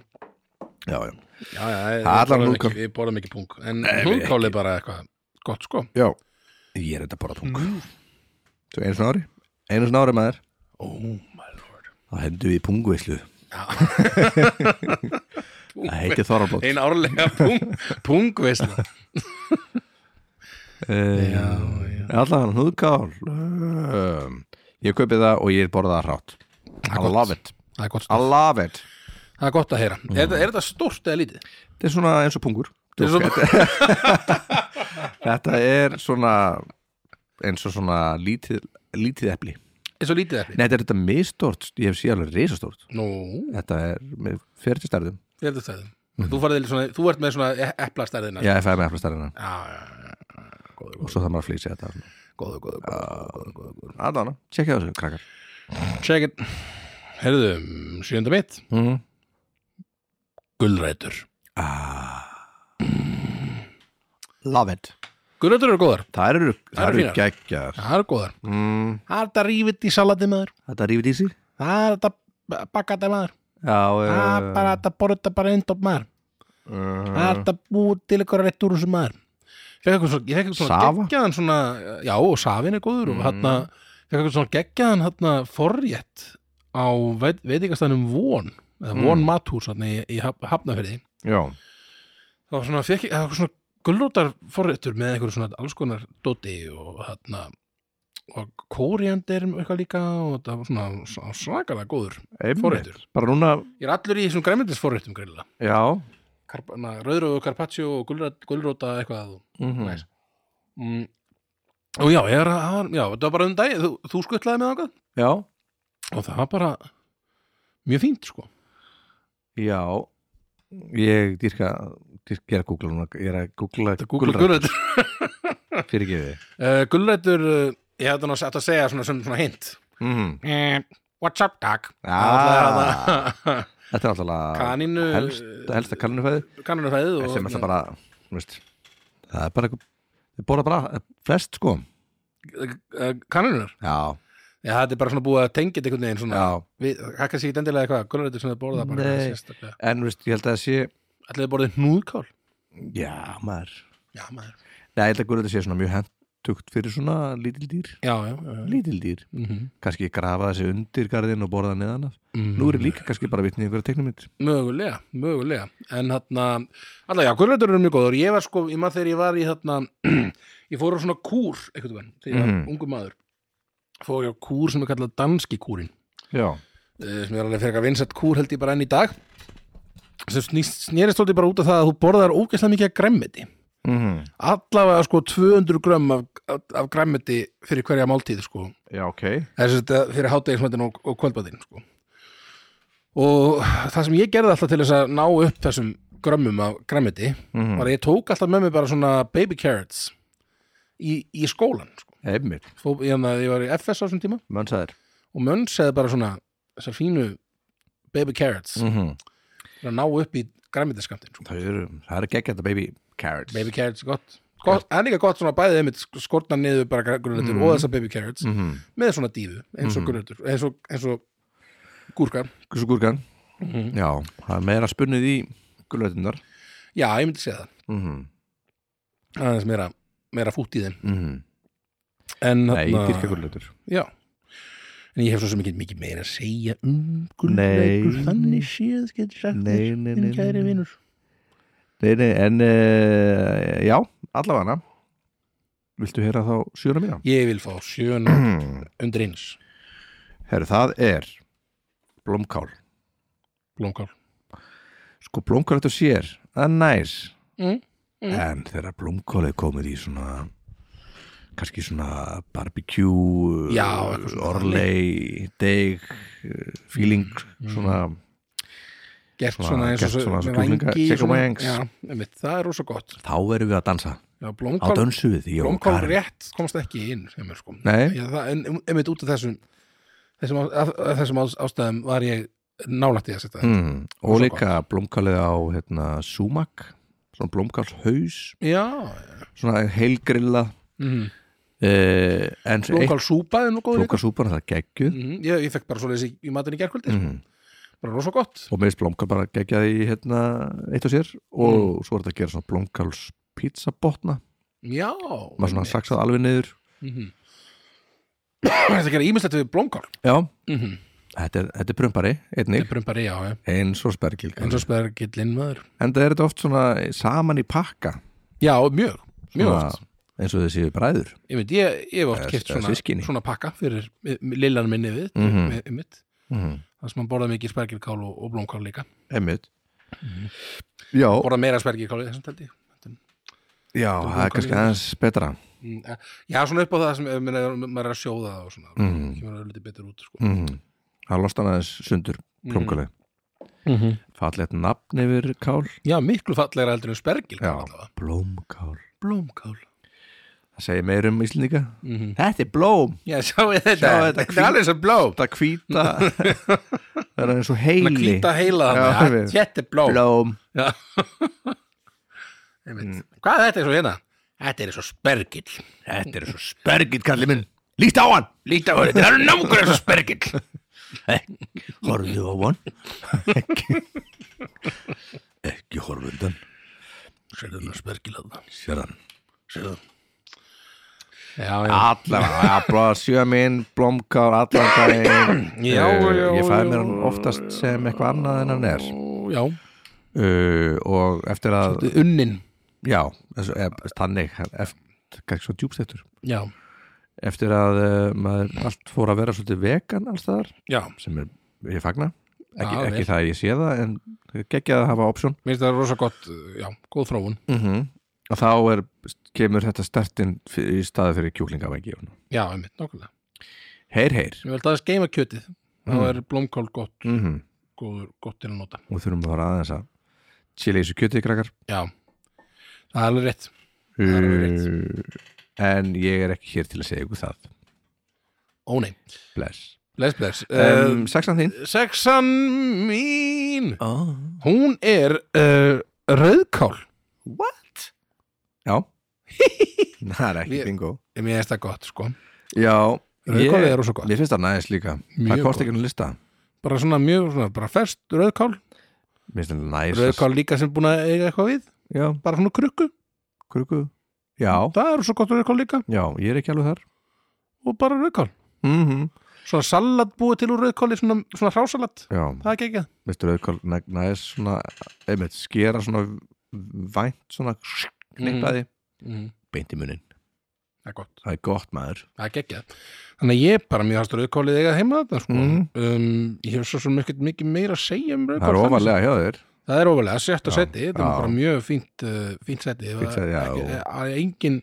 já, já. Já, já, Það er ég- ég borða allan ekki- hnúðkál. Ég borða mikið pung En hnúðkál er bara eitthvað gott sko já, ég er þetta bara pungur svo einu svona ári einu svona ári maður Oh my lord þá hendur við í punguvislu það heiti Þorvalblótt Ein árlega pung, pungveisla Já, já Eh, allan húðkál um, ég kaupi það og ég borða það hrátt I gott. love it Það er gott, I love it það er gott að heyra Er, þetta- er þetta stórt eða lítið? þetta er svona eins og pungur djók. Þetta, þetta er svona eins og svona lítið, lítið epli eins og lítið efni Nei, þetta er þetta mistort, ég hef síðan alveg risastort Nú, Mhm. Þetta er með 40 stærðum ég heldur það Þú, farið í svona, þú ert með svona e- eplastærðina Já, ég fæði með efla stærðina já, já, já. Góður, og svo það maður að flýsa þetta svona. góður, góður, góður, góður, góður. Allána, tjekkja þessu, krakkar Check it Herðu, sjönda mitt mm. Gullrætur Ah. Love it Gullrætur eru góðar Það eru, það eru eru fínar. geggjar Það eru góðar mm. Það er þetta rífið í salati með þér Þetta rífið í sig Það er þetta bakka þetta með þér Já, eh, Það er bara þetta borða þetta bara einn upp með þér Það Ah. er þetta búið til ykkur rétt úr þessu maður Ég fekk svona, ég fekk svona Safa? geggjaðan svona Já, og safin er góður og hann fekk eitthvað svona geggjaðan hann forrétt á veit, veitingastæðnum von eða von matús hann í, í Haf- Hafnarfirði Já, Það var svona, fekk, það var svona gulrótar forréttur með einhverju svona alls konar dóti og hann og kóriandir eitthvað líka og það var svona svona svakalega góður einmitt forréttur Bara núna, Ég er allur í þessum græmyndisforréttum greinilega já Karp, na, rauðröðu, karpaccio og gulrót- gulróta eitthvað og mm -hmm. Mhm. Nice. mm. og já, ég er að hann- já, þetta var bara um dag, þú, þú skuttlaði með ákvæð Já, og það var bara mjög fínt sko já Ég dýrka, dýrka, ég er að googla núna Ég er að googla gulrætur, gulrætur fyrirgefiði uh, gulrætur, uh, ég hefði nú að að segja svona, svona, svona hint mm -hmm. Eh, what's up dog Ah. ah. Þetta er alltaf kaninu helst, helsta kannunufæði kaninu fæðið eh, og hérna- sem er það bara þú veist, það er bara eitthvað þau borða bara flest sko uh, kaninur, já, já, þetta er bara svona búið að tengja þetta einhvern veginn svona já, Við, það er kannski ekki endilega eitthvað, gulrætur sem þið borða bara Nei. sérstaklega. en þú veist, ég held að það sé Ætli þið borðið hnúðkál já, maður já, maður Nei, ég held að gurðu þetta sé svona mjög hentugt fyrir svona lítil dýr já, já, já, já. lítil dýr, Mm kannski grafa þessi undir garðin og borða neðan af Mhm. nú er ég líka kannski bara vitnið einhverja teknumitt Mögulega, mögulega En hérna, þarna, alltaf já, gulrætur eru mjög góður Ég var sko, ég maður þegar ég var í þarna Ég fór á svona kúr, einhvern veginn Þegar ég Mhm. var ungur maður Fór ég á kúr sem er kallað danski kúrin já, uh, Sem er alveg fyrir eitthvað vinsett kúr held ég bara enn í dag Sem snýst- snerist stótti bara út af það að þú borðar ógeðslega mikið af grænmeti mm -hmm. Allavega sko 200 grömm af, af, af grænmeti fyrir hverja máltíð sko já, ok þessi þetta eh, fyrir hátegismöndin og, og kvöldbæðin sko. og það sem ég gerði alltaf til þess að ná upp þessum grömmum af græmiti Mhm. var að ég tók alltaf með mig bara svona baby carrots í, í skólan sko. einmitt, Fó, ég, hérna, ég var í FS á þessum tíma mönnsæðir og mönn segði bara svona þessar fínu baby carrots mm -hmm. til að ná upp í græmitiskamtin sko. það eru, það eru geggjæta baby carrots baby carrots er gott Gott, en líka gott svona bæðið einmitt skortna niður bara grunnetur og þessar baby carrots mm -hmm. með svona dífu eins og mm eins og, eins og gúrkar gúrkan Mhm. já, það er meira spunnið í gulrætunar já, ég myndi segja það mm -hmm. aðeins meira, meira fútt í þeim mm en, Nei, þarna- dýrka gulrætur já. en ég hef svo sem ekki mikið meira að segja um Nei. gulrætur þannig séð getur sagt Nei, nei, mér, nei, minn kæri nei. vinur Nei, nei, en uh, já, allavega Viltu heyra þá sjöna mína? ég vil fá sjöna undir eins Herru, það er blómkál blómkál Sko, blómkál þetta sér, það er næs Mm, En þegar blómkál er komið í svona kannski svona barbecue Já, eitthvað svona orlei, deg eh, feeling, Mm. svona gert Svona- svona eins og gert svona með kjúklinga- vængi chicken svona- wings. já, einmitt, það er rosa gott þá erum við að dansa já, á blómkál, dönsu við því blómkál rétt komst ekki inn sem er sko Nei. já, það, en einmitt út af þessum þessum, á- af, af þessum á- ástæðum var ég nálætt í að setja þetta mm, Svo Og líka blómkálið á hérna, sumak, svona blómkálshaus já, svona heilgrilla mm. uh, en blómkál súpa er nú góð líka. blómkálsúpan það er geggjuð Mm ég, ég fekk bara svoleiðis í, í matinn í gerkvöldi mm. mm. bara rosa gott og meðist blómkál bara geggjað í hérna, eitt og sér og svo er þetta að gera svona blómkáls pizzabotna já maður svona saksað alveg niður mm -hmm. þetta gerir ímislegt við blómkál já, mm Mhm. -hmm. þetta er, þetta er prumpari einnig, brumbari, já, já. eins og spergil eins og spæður gillin maður en það er þetta oft svona saman í pakka já, mjög, mjög svona, oft eins og þessi bræður ég, mynd, ég, ég hef oft Eða- kipt eða svona, systkini. svona pakka fyrir lillan minni við Mhm. mm -hmm. mm. það sem hann borðaði mikið spærgilkál og, og blómkál líka einmitt já, Mhm. borðaði meira spærgilkál í þessum tældi já, það er kannski aðeins betra Mm, eh, Já, svona upp á það sem eh, meina, maður er að sjóða það og svona Mm. kemur það lítið betur út sko. mm. það lost hann aðeins sundur Mhm. plunguleg, Mhm. fallegt nafn yfir kál Já, miklu fallegra heldur en spergil já, blómkál Blómkál það segir meir um Íslendinga mm -hmm. þetta er blóm, Já, sjáu þetta, Sjáið þetta, er alveg sem blóm þetta hvíta það er eins og Það heili klíta heila Já, það við- Þetta er blóm, blóm, Já. Einmitt. Hvað er þetta eins og hérna? Þetta er eins og spergill þetta er svo spergill kallið minn líkt á hann, líkt á hann, þetta er nákvæmlega svo spergill horfðu á hann ekki ekki horfðu undan Sérðu það spergill að það sérðan Sérðu Já, já, Allan, já, blá, sjö mín, blómkál, allan daginn Já, Eh, já, Ég já. fæði mér hann oftast sem eitthvað annað en hann er já. uh, Og eftir að, Þetta er unnin já, þessu, ef, þannig, hann- eftir, kannski svo djúbstættur Já, Eftir að uh, maður allt fór að vera svolítið vegan alls þar já Sem er, ég fagna Ekki, Já, Ah, vel. ekki það að ég sé það, en geggjað að hafa option Mér finnst það rosa gott, já, góð þróun mm -hmm. Mhm. Og þá er, kemur þetta stertinn í staði fyrir kjúklingavengi Já, einmitt, nokkulega Heyr, heyr Ég veldi aðeins geima kjötið þá er blómkál gott, mm góður, gott til að nota og þurfum að fara aðeins að chili í þessu kjöti krakkar Já, það er alveg rétt er alveg uh, en ég er ekki hér til að segja ykkur það Ó nei, bless bless bless um, um, sexan þín Sexan mín oh. Hún er uh, rauðkál what? já það er ekki Ég- bingo Mér finnst það gott, sko já, Rauðkál ég, er rosa gott mér finnst það næðis líka það Mjög gott. kosti ekki að lista Bara svona mjög, svona, bara ferst rauðkál mér finnst það næs Rauðkál líka sem búin að eiga eitthvað við já, Bara svona krukku, kruku já, það er rosa gott rauðkál líka já, ég er ekki alveg þar Og bara rauðkál mm Mhm. Svona salat búið til úr rauðkáli, svona, svona hrásalat já, Það er ekki ekki mér finnst rauðkál næ- næs svona, einmitt, skera svona vænt svona knippaði, Mhm. beint í munin Það er gott það er gott maður Það er geggjað. Þannig að ég er bara mjög hastur auðkálið eiga heima þetta sko. Mhm. Um, ég hef svo sem ekkert mikið meira að segja um það er rauðkál. ofalega hjá þér Það er ofalega, sjötta Já, seti. Þetta er já. bara mjög fínt, uh, fínt seti. Fínt sæti, já. Það er engin,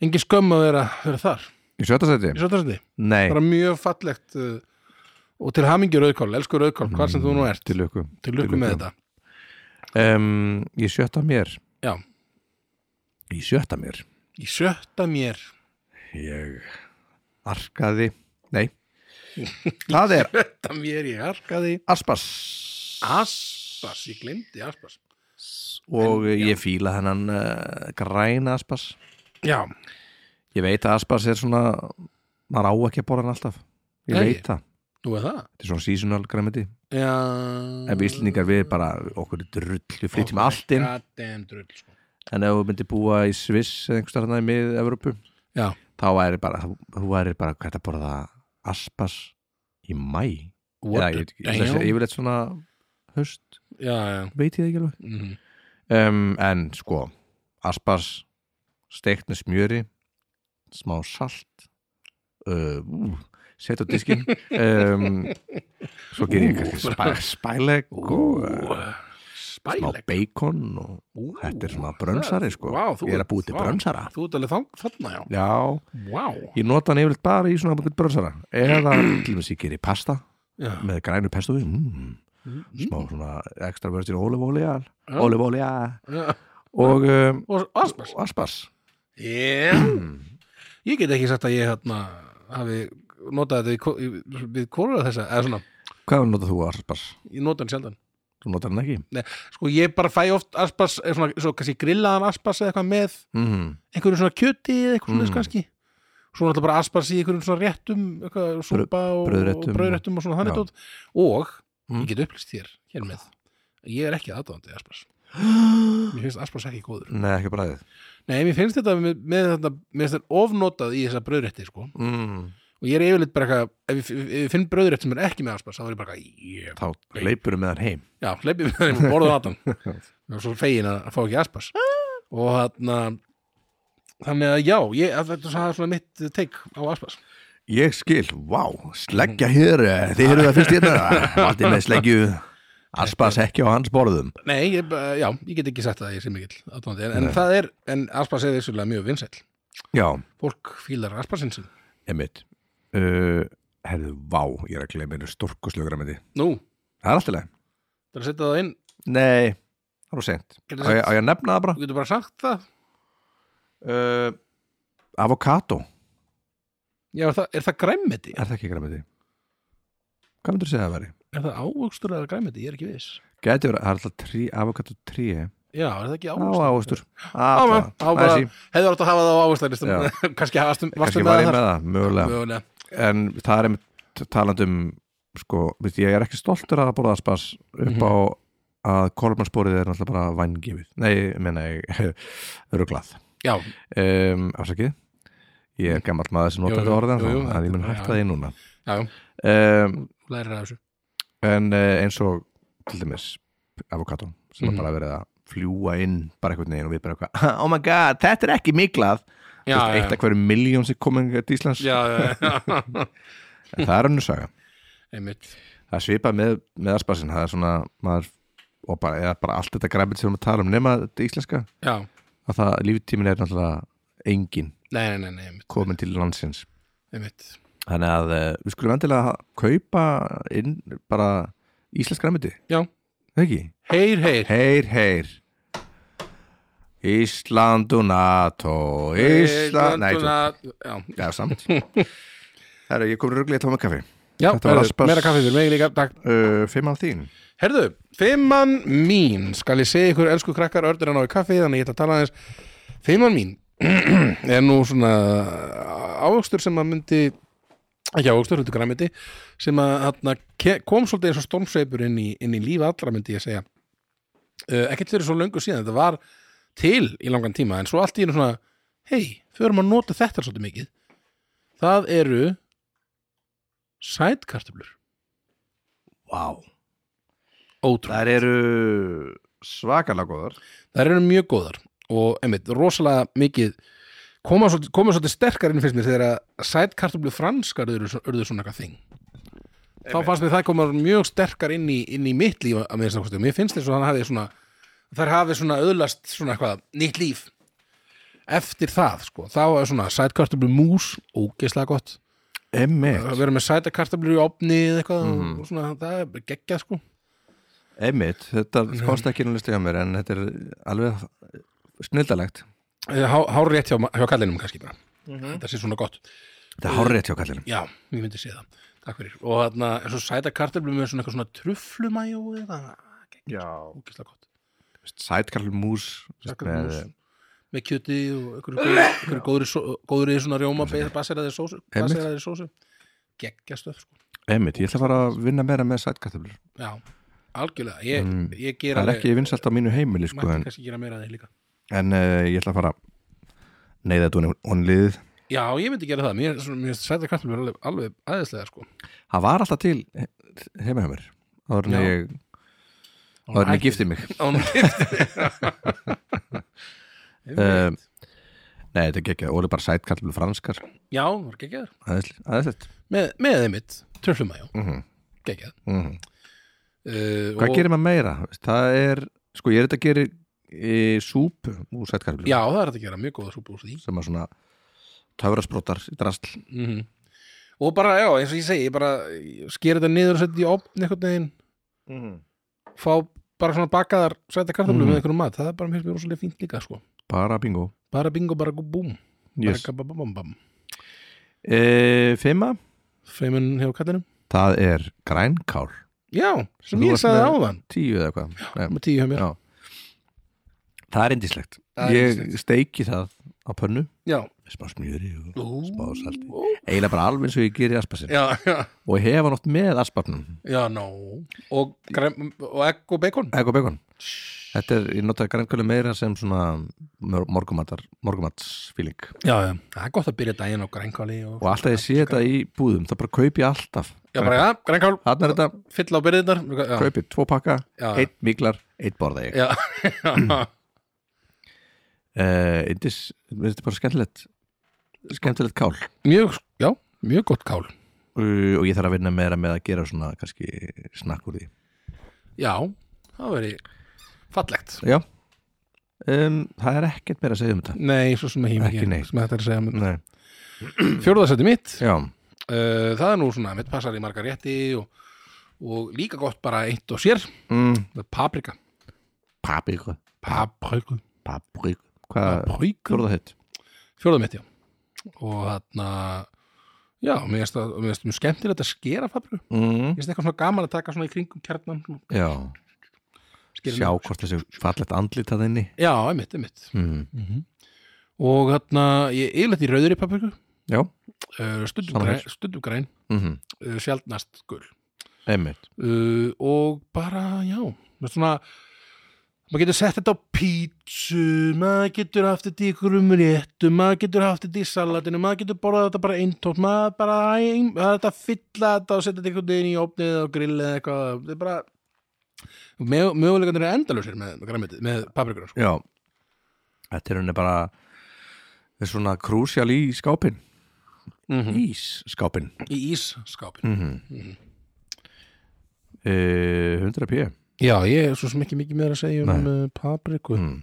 engin skömm að vera, vera þar. Í sjötta seti? Í sjötta seti. Nei, Bara mjög fallegt uh, og til hamingi rauðkál, elsku rauðkál, hvar sem þú nú ert. Mm, til lukku Til lukku með þetta. um, Í sjötta mér Já. Í sjötta mér Í sjötta mér. Ég arkaði Nei Það er Sjötta mér ég arkaði. Aspas Aspas, ég glemdi Aspas. Og eh, ég fíla hennan uh, græna Aspas Já, Ég veit að Aspas er svona maður á ekki að borða hann alltaf Ég Nei. veit það, nú er það. þetta er svona seasonal græmiti Já. En við Íslendingar við bara okkur er drull, við flytjum allt inn God damn drull, sko. En ef þú myndir búa í Sviss eða einhvers þarna í mið-Evropu Já, þá væri bara, þú væri bara hvað að borða aspas í mæ What Eða, the- ég, ég, ég, ég vil eitt svona höst, já, já veit ég það ekki alveg mhm. um, en sko, aspas steikt með smjöri smá salt uh, ú, set á diskin um, svo ger ég kannski spæ, spæleg og uh, smá Spæleg bacon og Ú, þetta er svona brönsari sko Vá, þú ég er ert- að búið til vá. brönsara Þú ert alveg þang- þarna, já já, Vá Ég nota hann yfirleitt bara í svona einhvern bröðsara eða til þess að ég gerir pasta Já, með grænu pesto við mm, Mm-hmm. smá svona ekstra virgin olive olea olive olea já. og um, Og Aspas aspas yeah. Ég get ekki sagt að ég hérna hafi notað þetta í ko- í- við kóruða þessa eða svona, Hvað notar þú aspas? ég nota hann sjaldan Þú notar hann ekki? Nei, sko ég bara fæ oft aspas eh, svona, svo kannski grillaðan aspas eða eitthvað með Mm. einhverjum svona kjöti eða eitthvað mm. Mm. kannski svo náttúrulega bara aspas í einhverjum svona réttum eitthvað, súpa og brauðréttum. og brauðréttum Hmm. og svona þannig Já. tótt og Mm. ég get upplýst þér hér með ég er ekki aðdáðandi aspas mér finnst aspas ekki góður Nei, ekki bræðið nei, mér finnst þetta með, með þetta mér finnst þetta ofnotað í þessa brauðrétti sko. mm. og ég er yfirleitt bara eitthvað ef ég, ef ég finn brauðrétt sem er ekki með aspas þá er ég bara eitthvað yeah. Þá leipur með hann heim já, hleypið með þeim og borðum atan og svo fegin að fá ekki aspas og þarna þannig að já, ég, að þetta það er svona mitt teik á aspas Ég skil, vá, sleggja hér eh, Þið eru það fyrst hérna Valdi með sleggju Aspas ekki á hans borðum Nei, ég, bara- já, ég get ekki sagt það að ég sé mikill aðdáandi, en, en það er, en Aspas er vissulega mjög vinsæll. Já, Fólk fílar Aspasinn sinn. einmitt uh, Herðu, vá, ég er að gleyma einu stórkoslögur að myndi Nú, Það er alltaf leið það er að setja það inn, Nei, það er of seint getur Á ég, á sagt, ég að nefna það bara? þú getur bara sagt það. Uh, avocado, Já, er það, er það græmiti? er það ekki græmiti? Hvað myndir þú segja að það væri? Er það ávöxtur eða græmiti? Ég er ekki viss. Gæti verið, það er alltaf trí, avocado trí Já, er það ekki Á, ávöxtur? ávöxtur Á, Á, á, á, bara- Hefur átt að hafa það á ávöxtarlistum. Kannski hafastum, Kanski varstum var með ég það. með það, mögulega Mögulega. En það er einmitt talandum sko, við, ég er ekki stoltur að borða spas upp Mhm. á að kolmansporið er náttúrulega bara vangifið Nei, ég meina ég ruglað Já, um, Afsakið Ég er gammal maður sem Jú, nota jú, þetta orðið jú, jú, ennþá, en ég mun þetta- hætta því núna já, já, um, lærir af þessu. en eh, eins og til dæmis avokado sem Mhm. er bara verið að fljúa inn bara einhvern veginn og við bara eitthvað oh my god, þetta er ekki miklað Þú Já, veist, já, eitt af hverju miljón sem komin til Íslands já, já, já, en það er önnur saga einmitt. það er svipað með, með aspasin það er svona maður, og bara, eða bara allt þetta græmið sem við erum að tala um nema þetta íslenska Já, að það líftímin er náttúrulega engin nei, nei, nei, nei, einmitt, komin til landsins einmitt. þannig að eh, við skulum endilega kaupa inn bara íslensk græmiti Já. ekki? Heyr, heyr. Heyr, heyr Ísland og NATO Ísland Nei, þú- já, já, samt Herra, ég kom rugglega tóma kaffi já Þetta var herðu, aspas. meira kaffið fyrir mig líka, takk uh, Fimm á þín Herðu, fimmann mín skal ég segja ykkur, elsku krakkar, ördur að ná í kaffið þannig ég ætla að tala aðeins fimmann mín er nú svona ávöxtur sem að myndi ekki ávöxtur, hlutu græmiti sem að hana, kom svolítið eins og stormsveipur inn í, inn í lífa allra myndi ég segja uh, ekkert fyrir svo löngu síðan þetta var til í langan tíma en svo allt í einu svona hei, förum að nota þetta svolítið mikið það eru sætkartöflur Vá ótrúlega Þær eru svakalega góðar Það eru mjög góðar og einmitt, rosalega mikið koma svolítið, koma svolítið sterkar inn finnst mér þegar að sætkartablu franskar eru, eru svona eitthvað þing þá fannst mér það koma mjög sterkar inn í, inn í mitt líf að mér og mér finnst þess að hann hafi svona þær hafi svona öðlast svona eitthvað nýtt líf eftir það sko, þá er svona sætkartablu mús ógeðslega gott, Emmett, að vera með sætkartablu í opni eða eitthvað og svona, það er geggjað sko Emmett Þetta komst ekki nú listu hjá mér en þetta er alveg snildalegt hár rétt Eh, hjá, hjá kallinum kannski bara þetta sé svona gott Þetta er hárrétt hjá kallinum Já, ég myndi sé það Takk fyrir Og þarna, eins og sæta kartöflum með svona eitthvað svona truflumæjó eða Já ógislega gott Sætkallum mús Sætkartöflum með, með kjöti og einhverju góðri, einhverju góðri, só- góðri svona rjóma baseraði sósu, Einmitt. baseraði sósu. Gekkjastöf sko. Emmett, ég ætla að fara að vinna meira með sætkallum Já, algjörlega Ég, Mm, ég gera Það er ekki vinsalt á mínu heimili sko, Mætti en, kannski gera meira af því líka en uh, ég ætla að fara neyða þetta ofan í- ofan í liðið Já, ég myndi gera það Mér, svona, mér sæta kartöflum er alveg, alveg aðeinslega sko. það var alltaf til he- heima hjá mér áður en Já. ég, áður en ég gifti mig Án gifti Um, nei, þetta er ekki ekki, Óli bara sætkallur franskar Já, var gekkjaður aðeins aðeins þetta Með, með einmitt, truflumæjó, Mhm, geggjað mhm. uh, hvað og- gerir maður meira? Veist, það er, sko ég er þetta að gera e, súpu úr sætkallur Já, það er hægt að gera mjög góða súpu úr því sem er svona töfrasprotar í drasl mm Og bara, já, eins og ég segi, ég bara skeri þetta niður og setja í opn einhvern veginn fá bara svona bakaðar sæta kartöflum Mhm. með einhverjum mat, það er bara mér finnst mér rosalega fínt líka sko. bara bingo Bara bingo, bara gú búm yes. bara bam bam bam e, Fima, Feimun hjá kallinum það er grænkál Já, sem Þú ég varst sagði með- áðan tíu eða eitthvað Nei. með tíu hjá mér Já. það er indislegt Það er ég yndislegt. steiki það á pönnu Já, smá smjöri og Ú. smá salti eiginlega bara alveg eins og ég gerir aspasin já, já, og ég hefa nátt með aspasnum já, no Og, græm, og egg og bacon egg og bacon þetta er, ég notaði grænkölu meira sem svona mor- morgunmatar, morgunmatsfíling Já, já, það er gott að byrja daginn á grænkáli og, og alltaf ég sé þetta í búðum það bara kaupi ég alltaf Já, bara, já, grænkál, þarna er þetta, fyll á byrðinnar Já, kaupi tvo pakka Já. eitt miklar, eitt borða ég já, já uh, indis, mér finnst þetta bara skemmtilegt skemmtilegt kál Eh, mjög, já, mjög gott kál uh, og ég þarf að vinna meira með að gera svona kannski snakk úr því Já, það veri fallegt Já um, Það er ekkert meira að segja um þetta Nei, svo sem ekki, Ekki neitt. sem þetta er að segja Nei. Fjórðarsætti mitt Já, uh, Það er nú svona, mitt passar í margar rétti og, og líka gott bara eitt og sér mm. Það er Paprika papriku Papriku Papriku Hvað, Papriku fjóruða hitt Fjórða mitt, já Og þarna Já, mér finnst það- mér finnst mjög skemmtilegt að skera papriku mm. Mér finnst eitthvað svona gaman að taka svona í kringum kjarnan svona Já, skera sjá niður. hvort þessi fallegt andlit að þinni Já, einmitt, einmitt mm. Og þarna, ég yfirleitt í rauðri papriku Já, uh, stundum, Sama græn, hér. stundum græn mm uh, sjaldnast gul einmitt uh, og bara, já með svona maður getur sett þetta á pítsu maður getur haft þetta í ykkurum réttum maður getur haft þetta í salatinu maður getur borðað þetta bara eintótt maður bara, æ, það er þetta að fylla þetta og setja þetta einhvern veginn í opnið og grillið eða eitthvað þetta er bara Mjög, möguleikandir er endalusir með græmitið, með paprikur sko. Já, þetta er henni bara er svona krúsjál í skápin mm -hmm. Ís skápin í ísskápin Mhm. mm -hmm. uh, 100 p já, ég er svo sem ekki mikið meira að segja um uh, papriku mm.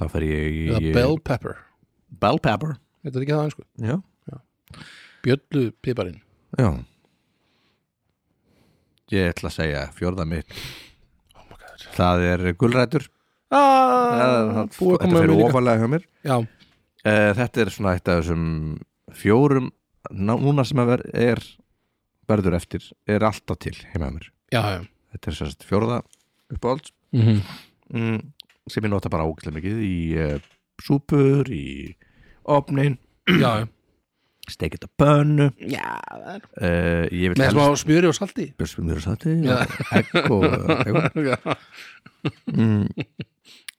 Þá fer ég í eh, eða bell pepper Bell pepper Þetta er ekki það sko? einsku. Já, Bjöllu piparinn. já Ég ætla að segja fjórða mitt Oh my god. Það er gulrætur Ah, Það búið að koma þetta með fyrir mér líka. ofalega hjá mér Já, uh, Þetta er svona eitt af þessum fjórum ná- núna sem að ver, er verður eftir er alltaf til heima hjá mér já, já. Þetta er sérst fjórða uppáhalds Mm -hmm. mm, sem ég nota bara ágætlega mikið í uh, súpur, í opnin já, já. steikit að bönnu Já, það er. uh, ég vil Með smá smjöri og salti. björsum mjög sæti Já. og egg og, og, já. mm,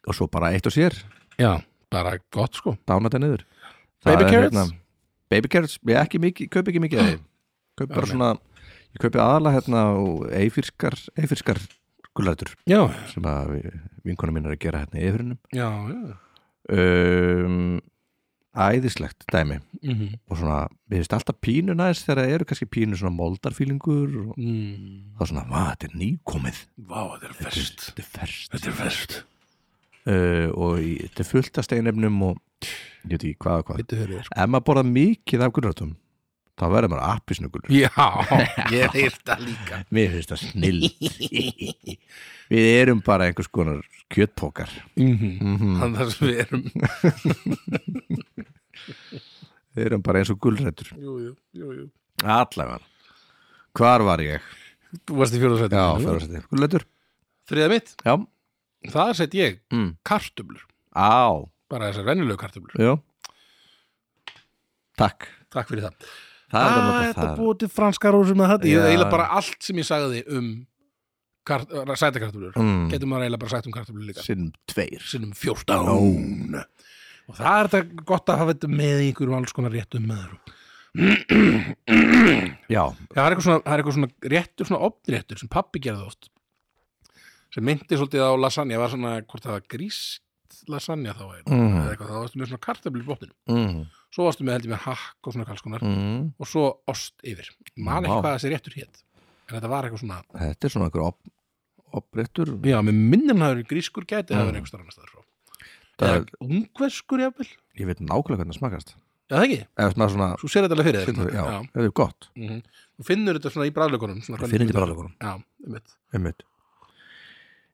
og svo bara eitt og sér já, bara gott sko. dána þetta niður Baby er hérna- carrots? baby carrots, ég ekki mikið, kaup ekki mikið af þeim. kaup bara Já, svona ég kaupi aðalega hérna og eifirskar eifirskar gulrætur Já, sem að vinkonum mín er að gera hérna í eifirinnum já, já. um, æðislegt dæmi Mm -hmm. og svona, við veist alltaf pínu næst þegar það eru kannski pínu svona moldarfílingur og mm. þá svona, hvað, þetta er nýkomið Vá, þetta er verst. þetta er ferst Þetta er verst. uh, og í, þetta er fullt af steinefnum og ég veit ekki hvað og hvað Vittu þeirri, sko. ef maður borða mikið af gulrætum þá verður maður appisnugulur Já, ég hef það líka. mér finnst það snill við erum bara einhvers konar kjötpókar Mm -hmm. Þannig að við erum. við erum bara eins og gulrætur Jú, jú, jú, jú. allavega hvar var ég? Þú varst í fjóðarsætti. já, fjórastætti gulrætur Þriða mitt, já, þar sett ég mm. kartöblur. á, Bara þessar venjulegu kartöblur. já takk Takk fyrir það. það er Ah, alveg þetta það búið til franska rósum með þetta Ég Já. hef eiginlega bara allt sem ég sagði um kart, sætakartöflur Mm. Getur maður eiginlega bara sagt um kartöflur líka sinnum tveir Sinnum 14 Og það er þetta gott að hafa þetta með í einhverjum alls konar réttum með þér já, Já, það er eitthvað svona, það er eitthvað svona réttur, svona opnréttur sem pappi gerði oft sem myndi svolítið á lasagna var svona, hvort það var gríst lasagna þá eiginlega mm. eða eitthvað, þá varstu með svona kartöflur í botninu Mm. Svo varstu með heldur með hakk og svona kalskonar Mm. og svo ost yfir Man ekki Vá. hvað þessi réttur hétt En þetta var eitthvað svona þetta er svona einhver op- opréttur Já, með minnum hafa verið grískur gæti Mm. hafa verið einhver starf annars staðar frá. Það er- Eða ungverskur jafnvel Já, ég veit nákvæmlega hvernig það smakast það ekki, eða svona svona svo sér þetta alveg fyrir Finnur, þér já, þetta er gott Mhm. Þú finnur þetta svona í bræðleikunum Ég finn þetta í bragðlaukunum. Já, einmitt, einmitt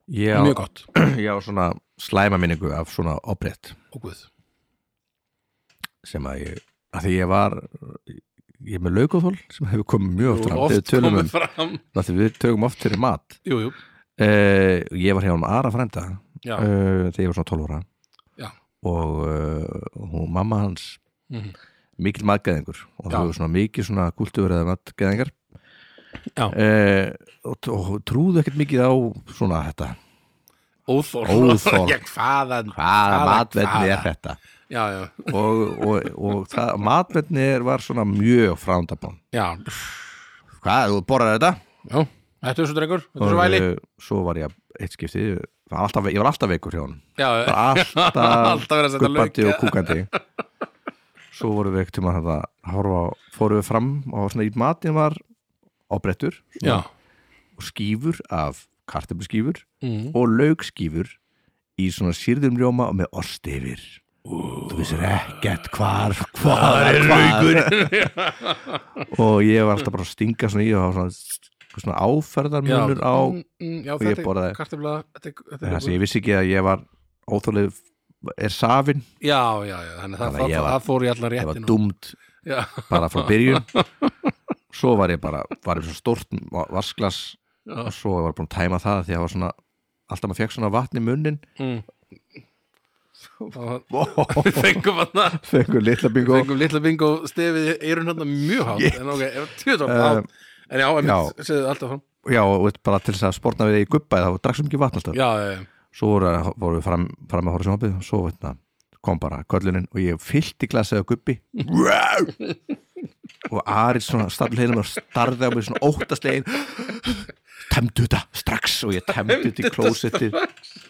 ég, á- mjög gott ég á svona slæma minningu af svona oprétt og guð sem að ég að því ég var ég er með laukaþól sem hefur komið mjög oft fram þegar við tölum um komið fram af því við tökum oft fyrir mat Jú, jú, uh, ég var hjá um Ara frænda uh, já, þegar ég var svona 12 ára Já. og uh, hún, mamma hans Mhm. mikil matgeðingur og Já. það var svona mikið svona gultuverið matgeðingar Já. Eh, og, og trúðu ekkert mikið á svona þetta óþór Óþol. Já, hvaðan hvaða Hvaða- matvenni er hvaða? þetta Já, já, og, og, og það, matvenni er- var svona mjög frándabann já, hvað, þú borðar þetta? já Þetta er svo drengur, þetta er svo væli eh, svo var ég eitt skipti ég var alltaf, ég var alltaf veikur hjá hann Já, já, alltaf Alltaf verið að setja guppandi lauk, og kúkandi svo vorum við ekkert um að horfa, á- fórum við fram og svona í matinn var ábrettur já, og skýfur af kartöfluskífur mm. og laukskífur í svona sýrðum rjóma og með ost yfir þú vissir ekkert hvar hvar, er laukur og ég var alltaf bara að stinga svona í og hafa svona, svona áferðarmunur á mm, mm, já, og ég þetta er borðaði. kartöfla þetta er, þetta þess að er ég vissi ekki að ég var óþjóðlega er safin, já, já, já, þannig Þannig það, að það, ég það, var- fór í allar ég var réttin dumt já, bara frá byrjun svo var ég bara, var ég svona stórt vasklas Já. og svo var ég búin að tæma það því að það var svona, alltaf maður fekk svona vatn í munnin mm. Það- og við fengum hann að fengur litla bingo fengum litla bingo stefið eirun hann mjög hátt en ok, ef tjóðum Eh, hátt en já, en já. segðu alltaf fram já, og veit, bara til þess að spórna við í guppa þá drakksum ekki vatn alltaf já, já, já, svo voru, voru við fram, fram að horfa sjónabíð og svo veitna, kom bara köllunin og ég fyllti glasið á guppi og Ari svona stafl heilum og starði á mig svona óttaslegin temdu þetta strax og ég temdu þetta í klósetti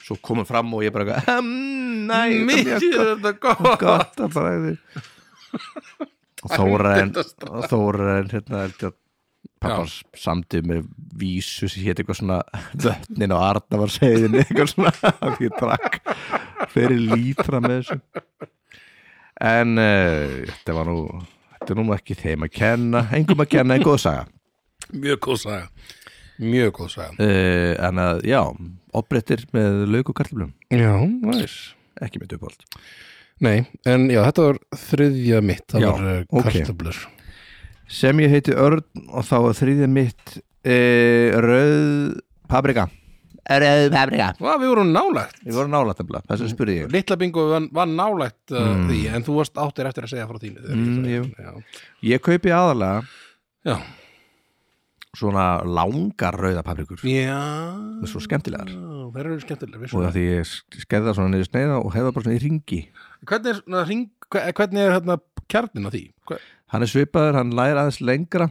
svo komum fram og ég bara eitthvað, "Em, nei, þetta mikið er er mjög þetta gott gott að bræði og Þóraðin Þóraðin hérna held ég að pappans samtið með vísu sem hétt eitthvað svona vötnin og Arna var segðin eitthvað svona af því ég drakk fyrir lítra með þessu en uh, þetta var nú þetta er nú ekki þeim að kenna engum að kenna en góð saga mjög góð saga mjög góð saga uh, en að já, opbrettir með lauk og karlblum já, næs ekki með dupóld nei, en já, þetta var þriðja mitt það Já, var eh, ok. okay. kartöblur sem ég heiti Örn og þá er þriðið mitt e, rauð paprika rauð paprika Vá, við vorum nálægt við vorum nálægt að þess að spurði ég litla bingo var, var nálægt uh, því en þú varst áttir eftir að segja frá þínu þegar Mm, ég sagði. já. ég kaupi aðalega já, svona langar rauða paprikur já það er svo skemmtilegar það eru skemmtilegar og vissulega. það því ég skerða svona niður sneiða og hefða bara svona í ringi hvernig er, svona hring, hve- hvernig er hérna, kjarnin á því? Hver, hann er svipaður, hann læra aðeins lengra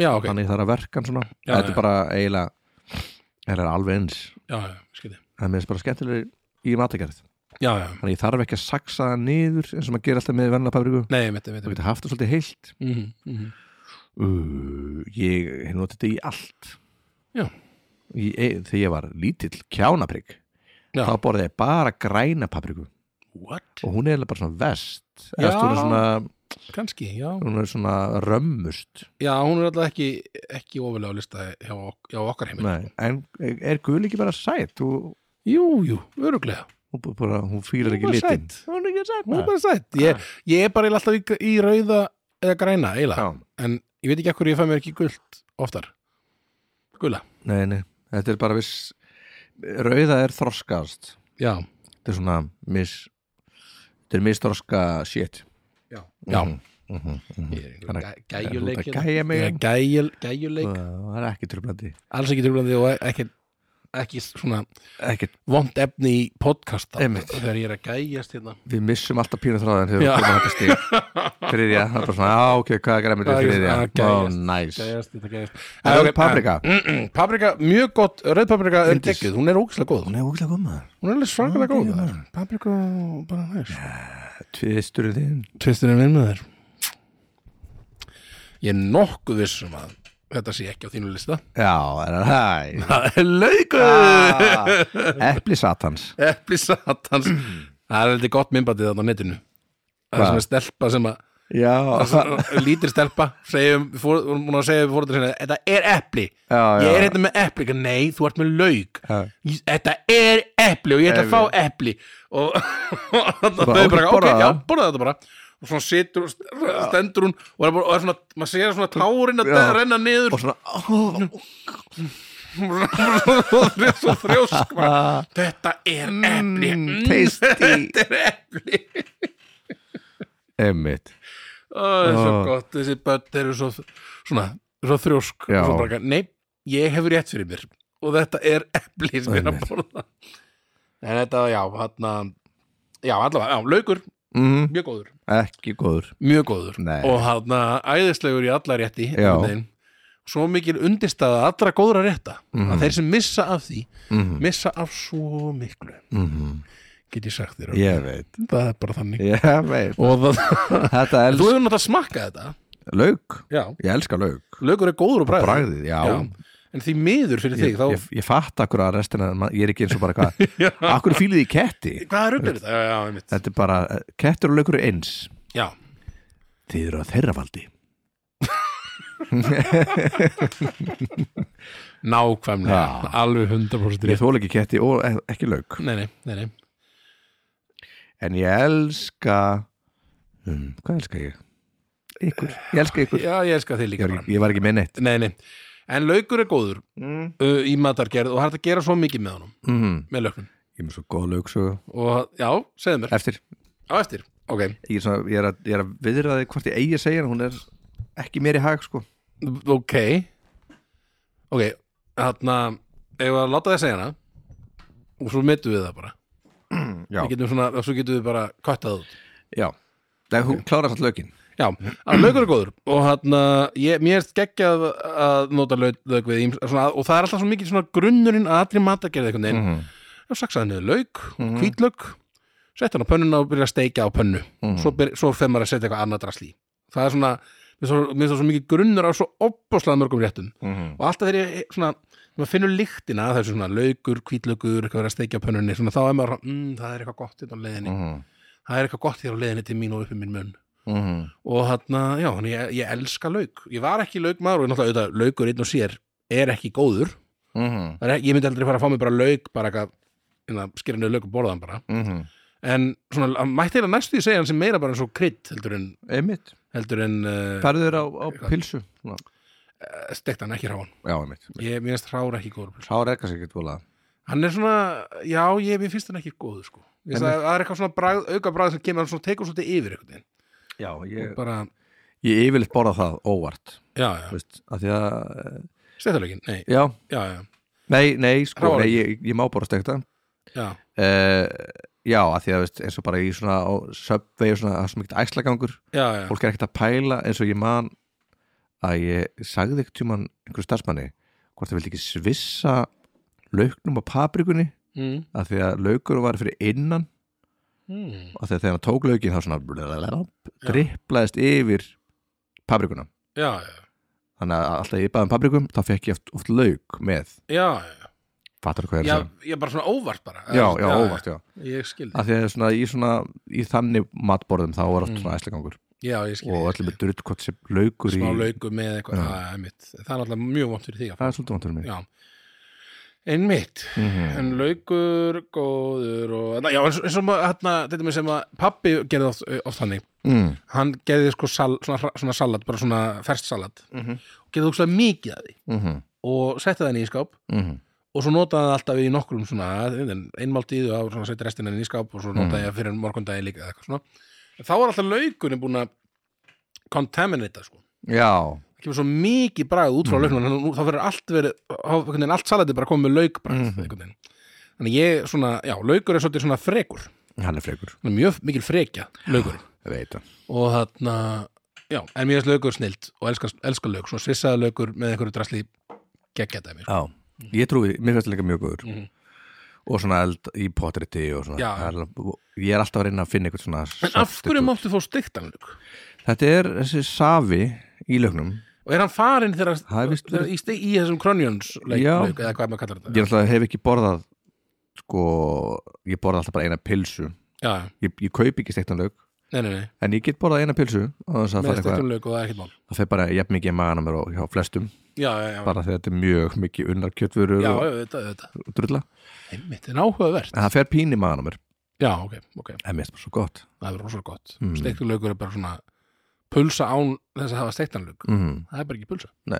já, ok, hann er þar að verka hann svona Já, þetta já. er bara eiginlega þetta er alveg eins já, já, skilji það er bara skemmtilegur í matagerð já, já, þannig að ég þarf ekki að saksa það niður eins og maður gerir alltaf með venla papriku nei, mitt, mitt, þú mitt getur haft það svolítið heilt mhm, mhm. Uh, ég hef notið þetta í allt Já. ég, eh, Þegar ég var lítill kjánaprygg Já. þá borðið ég bara græna papriku what? og hún er eiginlega bara svona vest Já. Eftir, hún, er svona, kannski, já hún er svona römmust já, hún er alltaf ekki, ekki ofalega á lista hjá, ok- hjá okkar heimil Nei, en er gul ekki bara sætt og, jú, jú, öruglega og bara, hún fýlar Hún ekki er litin Ah. sæt. Hún er ekki sætt hún er bara sætt ég, ég er bara eiginlega alltaf í, í rauða eða græna eiginlega, Já, en ég veit ekki af hverju ég fæ mér ekki gult oftar gula, nei, nei, þetta er bara viss Rauða er þroskast já, Þetta er svona mis Þetta er misþroska shit já, já. Mhm, mhm, mhm. Þannig að- gæjuleik Þú ert að gæja mig hérna. Ég er gæjul, gæjuleik Það er ekki tröflandi alls ekki trúblandi og ekki, ekki svona Ekkert vond efni í podcast Einmitt. þegar ég er að gæjast hérna við missum alltaf pínu þráðan þegar Já. við komum að þetta stíl þriðja, það er bara svona, á, ok, hvað er græmið Hvað er- þriðja, ah, ó, gæjast, næs gæjast, þetta gæjast Rauð Ok, paprika. eh, mm, mm, paprika, mjög gott, rauð paprika er Finndís. geggjuð, hún er ógislega góð hún er ógæslega góð maður hún er alveg svakalega Ah, góð geggjað. maður. paprika, bara næst tvisturinn þinn, tvisturinn inn með þér ég er nokkuð vissum að þetta sé ekki á þínu lista já, er það hæ það er laukur Ah, epli satans epli satans það er heldur gott myndbandið þarna á netinu það er Hvað? sem er stelpa sem að já, já, lítir stelpa segjum, fór, hún er búin að segja við fórhundar sinna þetta er epli, já ég er hérna með epli Ég, nei, þú ert með lauk Já. Ég- þetta er epli og ég ætla að Epli. fá epli og þau Bara, bara, ok, ok, borðaðu já, það. borða þetta bara og svona situr, og st- stendur hún og er, bara, og er svona, maður segir svona tárin að Já. renna niður og svona, ó, og svo þrjósk bara, þetta er epli mm, tasty þetta er epli emmitt, Ó, það er svo Ó. gott, þessi börn eru svo svona, svo þrjósk Já. og svo bara, eitthvað, nei, ég hefur rétt fyrir mér og þetta er epli sem ég er að Einmitt. borða en þetta, já, hann já, allavega, já, laukur, mm, mjög góður ekki góður mjög góður Nei. og hann æðislegur í alla rétti Já. einhvern veginn. svo mikil undirstaða allra góðra rétta Mhm. að þeir sem missa af því Mhm. missa af svo miklu Mhm. get ég sagt þér, ég veit, það er bara þannig ég veit og það, þetta þú er hefur náttúrulega smakkað þetta lauk, já. ég elska lauk laukur er góður og bræður bragðið, já, Já. en því miður fyrir ég, þig þá ég, ég fatt akkur að restina ma- ég er ekki eins og bara hvað akkur fýlið í ketti Hvaða rugl er þetta? Já, já, einmitt. þetta er bara, eh, kettur og laukur eru eins já, þið eru að þeirra valdi nákvæmlega, Já. alveg 100% ég rétt. þól ekki ketti og e- ekki lauk Nei, nei, nei, nei. en ég elska um, hvað elska ég? ykkur, ég elska ykkur Já, ég elska þig ég líka var bara. ekki, ég var ekki með neitt Nei, nei. En laukur er góður mm. uh, í matargerð og hægt að gera svo mikið með honum, Mhm. með lauknum. ég er með svo góð lauksögu Og já, segðu mér. eftir, Á eftir, ok. ég er, svona, ég er, að, ég er að viðra þig hvort ég eigi að segja hana, hún er ekki mér í hag sko Ok. Ok, þarna, ef að láta þig segja hana og svo metum við það bara. já, Við getum svona, og svo getum við bara kvættað út. já Nei, hún klárar satt lökin Já, að laukur er góður og hérna, ég, mér erst geggjað að nota lauk, lauk við ýms- svona, og það er alltaf svo mikið svona grunnurinn að allri matargerð einhvern veginn, Mhm. þá saksaði niður lauk, hvítlauk sett hann á pönnuna og byrja að steikja á pönnu Mhm. svo, byr, svo fer maður að setja eitthvað annað drasli í. það er svona, mér svo- mér er það svo mikið grunnur á svo opboslega mörgum réttum Mhm. og alltaf þegar ég svona maður finnur lyktina að þessu svona laukur, hvítlaukur eitthvað verið að steikja á pönnunni, svona þá er maður svona, mm, það er eitthvað gott hérna á leiðinni Mhm. það er eitthvað gott hér á leiðinni til mín og uppi minn mun Mhm. og hann, já, hann, ég, ég elska lauk ég var ekki laukmaður og náttúrulega auðvitað, laukur einn og sér er ekki góður Mhm. Það er, ekki- ég myndi aldrei fara að fá mig bara lauk bara eitthvað, hérna, skera niður lauk og borða hann bara Mhm. en svona, að mætti eiginlega næstu í segja hann sem meira bara eins og krydd heldur en, einmitt, heldur en uh, færðu þér á, á pilsu Svona. stekt hann ekki ráan já, einmitt, ég minnst rára ekki góður pulsa. þá er ekki ekkert vola hann er svona, já, ég mér finnst hann ekki góður sko, Ég finnst En- að það er eitthvað svona bragð, auka bragð sem kemur hann svona tekur svolítið yfir einhvern veginn já, yeah. ég, bara, ég yfirleitt borða það óvart já, þú já, veist, af því að eh, stektalögin nei, já, já, já, nei, nei, sko Hráolíu. nei, ég, ég má borða stekta já uh, já, að því að veist, eins og bara í svona á subway og svona, það er svo mikið æslagangur já, já, fólk er ekkert að pæla eins og ég man að ég sagði ekkert tjúman einhverjum starfsmanni hvort það vildi ekki svissa lauknum á paprikunni mm. að því að laukur var fyrir innan Mm. og þegar þegar hann tók laukin þá svona blalalala, driplaðist yfir paprikuna já, já, þannig að alltaf ég baði um paprikum þá fekk ég oft, oft lauk með já, já fattar hvað ég er Já, að ég bara svona óvart bara segja já, já, óvart, já Ég skil þig, að því að svona í, svona, í þannig matborðum þá var oft svona æslagangur já, Mm. ég skil og þig allir með drutkott sem laukur í Smá lauku með eitthvað, það er mitt Það er alltaf mjög vant fyrir því að það er svolítið vantur mig Já. Einmitt, Mhm. en laukur, góður og, na, já, eins, eins og maður, hérna, þetta með sem að pappi gerði oft, oft þannig, mm. hann gerði sko sal, svona, hra- svona salat, bara svona ferst salat Mhm. og gerði ókslega mikið að því Mm -hmm. og setti það inn í skáp Mm -hmm. og svo notaði hann alltaf í nokkrum svona einmáltíð og svona setja restina inn í skáp og svo notaði ég fyrir morgundagi líka eða eitthvað svona en þá var alltaf laukunni búin að contaminata sko Já, það kemur svo mikið bragð út frá mm. lauknum þá verður allt verið, þá einhvern veginn allt salati bara komið með laukbragð Mhm. einhvern veginn þannig ég svona, já, laukur er svolítið svona frekur hann er frekur svona mjög mikil frekja, laukur Ég veit það og þarna, já, en mér er laukur snilt og elska, elska lauk, svona svissaði laukur með einhverju drasli geggjadæmi sko. Já, ég trúi, mér finnst það líka mjög góður Mhm. Og svona eld í potriti og svona Já. Það er alveg- Ég er alltaf að reyna að finna eitthvað svona en af substitute. hverju máttu fá stiktan lauk? Þetta er þessi safi í lögnum og er hann farinn þegar Það er víst þegar í, steg, í þessum Kronjöns leik, Já. leik, eða hvað maður kallar þetta Ég alltaf hef ekki borðað Sko, ég borða alltaf bara eina pilsu já, Ég, ég kaupi ekki steiktan lög nei, nei, nei, En ég get borðað eina pilsu og þess að fara með eitthvað stektum lauk og það er ekkert mál Það fer bara jafn mikið í magan á mér og hjá flestum já, já, já, Bara þegar þetta er mjög mikið unnar kjötvörur já, og þetta, þetta og drulla einmitt, en áhugavert En það fer pín í magan á mér já, ok, ok, En mér er bara svo gott það er rosalega gott Mm. mm. stektum laukur er bara svona pulsa án þess að hafa stektan lauk mm. það er bara ekki pulsa Nei.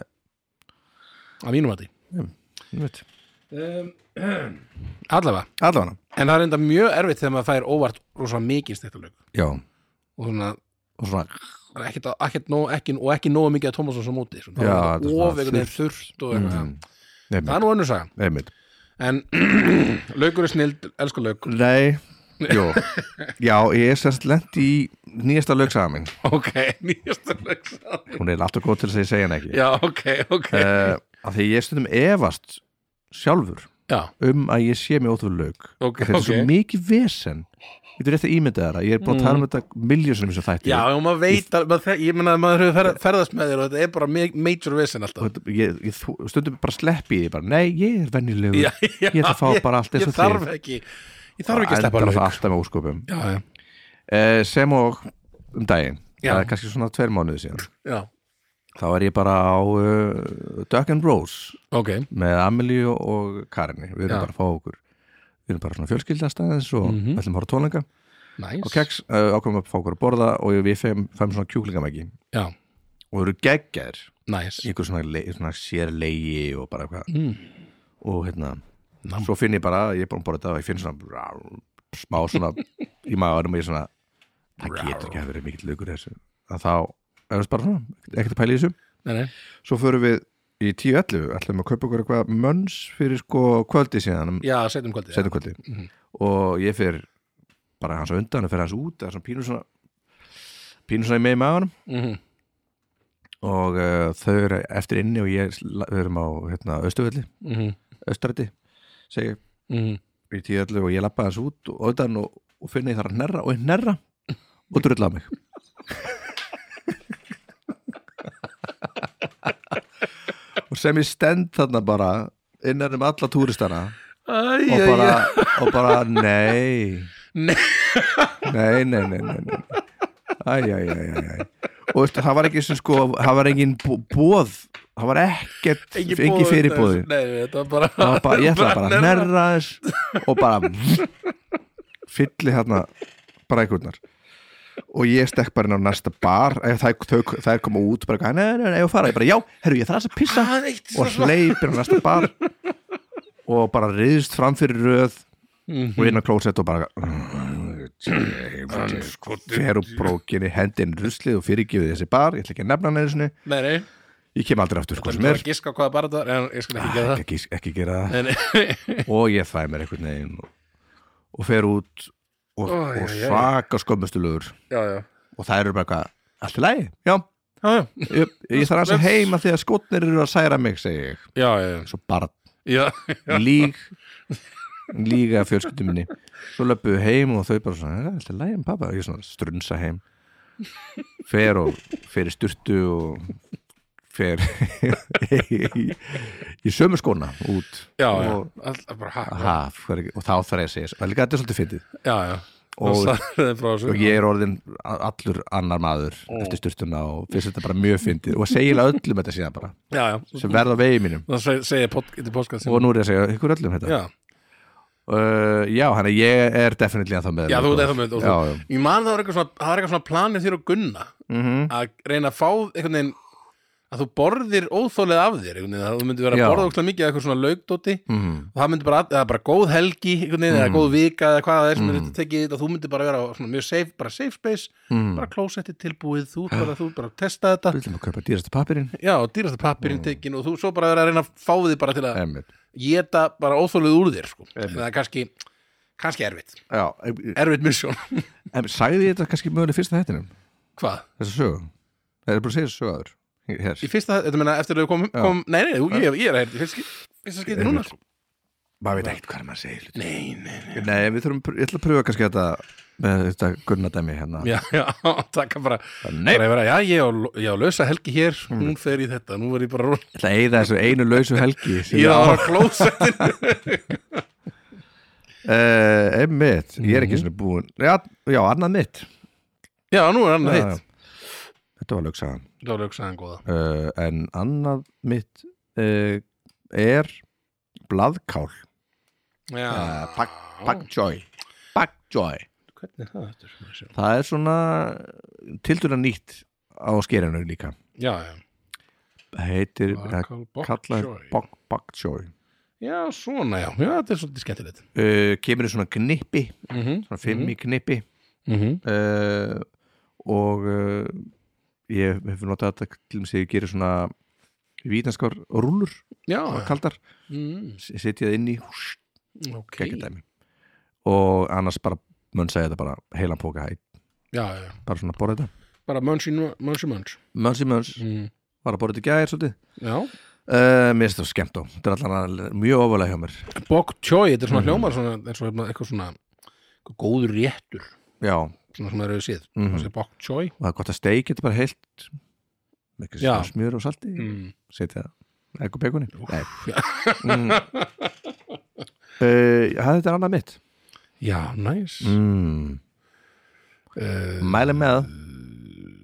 að mínum að því um, allavega, Allavega en það er enda mjög erfitt þegar maður fær óvart rosalega mikið stektan lauk Já, og svona og svona það er ekkert, ekkert nóg, ekki, og ekki nóg mikið að Tómasson sem úti Já, svona, Mhm. þetta er og svona einhvern veginn þurft og eitthvað mm. Nei, Það er nú önnur saga einmitt En laukur er snild, elsku lauk Nei, jú Já, ég er sérst lent í nýjasta lögsaga minn Ok, nýjasta lauk saga. Hún er alltaf góð til þess að ég segja hann ekki Já, ok, ok uh, Af því ég stundum efast sjálfur Já, um að ég sé mig óþur lög Ok, Þetta er ok. Mm. svo mikið vesen getur rétt að ímynda þér að ég er búin að tala um þetta miljósunum sem þætti Já, og maður veit að, maður, þek- ég meina að maður hefur fer- ferðast með þér og þetta er bara me- major og vision alltaf þetta- ég, ég, þú- stundum bara sleppi ég því bara, nei, ég er venjulegur Já, já, ég ætla að fá ég- bara allt eins Ég og þarf þér. ekki, ég þarf ekki að sleppa Endar alveg það alltaf með ósköpum Já, já, eh, sem og um daginn Já. það er kannski svona tveir mánuði síðan já, þá er ég bara á uh, Duck and Rose ok með Amelie og, og Karini við erum Já. bara að fá okkur við erum bara svona fjölskyldastæðins og mm Mhm. -hmm. ætlum að horfa á tónleika Næs og keks uh, ákveðum að fá okkur að borða og við fæm, fæm svona kjúklingamæki Já, og eru geggjær næs í einhver svona, le, svona sérlegi og bara eitthvað Mm. og hérna, Nam. svo finn ég bara ég er búin að borða þetta og ég finn svona rá, smá svona í maðurum og ég svona það getur ekki að vera mikill laukur í þessu að þá, er það bara svona, ekkert að pæla í þessu Nei, nei, svo förum við í 10.11 ætlum að kaupa okkur eitthvað mönns fyrir sko kvöldi síðan, já, setjum kvöldi setjum kvöldi og ég fyrir bara hans á undan og fyrir hans út, það er svona pínur svona pínur svona í með í maðurum mm og uh, þau eru eftir inni og ég sla- við erum á hérna, Östuvelli, -hmm. Östrætti segi ég, Mm í 10.11 og ég lappa hans út og, utan og, og finna ég þar að hnerra og ég hnerra og drulla á mig og sem ég stend þarna bara innan um alla túristana Æ, og æ, bara, æ. og bara nei Nei. nei, nei, nei, nei, nei. Æ, æ, æ, æ, æ. og veistu, það var ekki sem sko, það var engin bó- boð það var ekkert, Engin engin boð, fyrirbóði Nei, þetta var bara, Það var bara, ég ætlaði bara að hnerra. nerra þess og bara fylli hérna brækurnar og ég stekk bara inn á næsta bar ef það, þau, það er koma út bara, eitthvað, nei, nei, nei, ég fara, ég bara, já, herru, ég þarf aðeins að pissa Það er eitt svo og hleypir á næsta bar og bara riðst fram fyrir röð og inn á klósett og bara fer úr brókinni hendinn ruslið og fyrirgefið þessi bar, ég ætla ekki að nefna hann einu sinni Nei, nei, ég kem aldrei aftur sko það sem er er að giska hvaða bara það En ég skal ekki gera það ekki, ekki gera það Nei, nei, og ég fæ mér einhvern veginn og, og fer út og, Ó, já, og já, já. svaka skömmustulugur já, já og það eru bara eitthvað, allt í lagi já, Já, já, ég, ég þarf að segja heima því að skotnir eru að særa mig, segi ég já, já, svo barn, já, líg líga fjölskyldum minni svo löpum við heim og þau bara svona "Eh, allt í lagi, en pappa, ég svona strunsa heim fer og fer í styrtu og fer í, í, í sömu skona út já, já. og, Alltaf bara hakk Aha, hvað er ekki- og þá þarf ég að segja það er líka þetta er svolítið fyndið Já, já, og og, sagði frá þessu og ég er orðin a- allur annar maður eftir styrtuna og finnst þetta bara mjög fyndið og segja eiginlega öllum þetta síðan bara Já, já, sem verða á vegi mínum það seg- segir podkast í podcast og nú er ég að segja ykkur öllum þetta Já, uh, já, hann er ég er definitely að það með já, þú veit þetta. það já, með og já. þú- Ég man það var eitthvað svona, það var eitthvað svona planið þér og Gunna Mhm. að reyna að fá einhvern veginn að þú borðir óþólið af þér einhvern veginn, að þú myndir vera Já. að borða ókslega mikið af eitthvað svona laugdóti Mhm. og það myndi bara, eða bara góð helgi einhvern veginn, eða góð vika eða hvað það er sem mm. þetta tekið þetta, þú myndi bara vera á svona mjög safe, bara safe space bara klósetti tilbúið, þú ert bara, þú ert bara að testa þetta, Við ætlum að kaupa dýrasta pappirinn já, og dýrasta pappirinn tekin og þú svo bara vera að reyna að fá því bara til að Einmitt. geta bara óþólið úr þér sko. en það er kannski, kannski erfitt Já, em- erfitt misjón, em, sagði ég þetta kannski möguleg fyrsta þættinum hvað? þessa sögu, það er bara að segja þessu sögu aður hér, Í fyrsta, þetta meina eftir að við komum, kom, nei, nei, nei, ég, ég er að fyrsta, fyrsta skeiti núna sko. maður veit ekkert hvað er maður að segja hluti. nei, nei, nei, Nei, við þurfum, ég ætla að pröfa kannski þetta með þetta gunnadæmi hérna já, já, taka bara Nei, bara að vera, já, ég á, ég á lausa helgi hér hún fer í þetta, nú verð ég bara rúl Ég ætla að eyða þessu einu lausu helgi sem ég ég á á. að klósetin Eh, einmitt, ég er Mhm. ekki svona búin já, já, annað mitt já, nú er annað Já, hitt þetta var lögsagan þá er lögsaðan góða uh, en annað mitt uh, er blaðkál já, Eh, pak, bakjoy bakjoy hvernig er það eftir Má sjá. það er svona tildurna nýtt á skerinu líka já, já, heitir, eh, Bakal Bok kallaði Choy. bak- bakjoy já, svona, já, já, þetta er svolítið skemmtilegt uh, kemur í svona knippi mhm, svona fimm í knippi mhm, uh, og uh, ég hef notað þetta til þess að ég gerir svona vítanskar rúlur já, kaldar, mhm, setja það inn í hús, ok ekki dæmi og annars bara mönsa ég þetta bara heilan póka hæ, já, já, bara svona borða þetta bara munch í nu- munch í munch mönsi möns, Mhm. var að borða þetta í gær svolítið já, uh, mér finnst það skemmt á, þetta er allan að mjög ofalega hjá mér Mhm. bok tjói, þetta er svona hljómar svona, eins og hérna eitthvað svona góður réttur já, og svona sem það eru séð Mhm. það sé bokk tjói það er gott að steik þetta bara heilt með ekki Já. Mm. smjör og salti Mhm. setja egg og bekoni Nei. já. mm. uh, þetta er annað mitt já, Eh, næs mm. mm. mæli með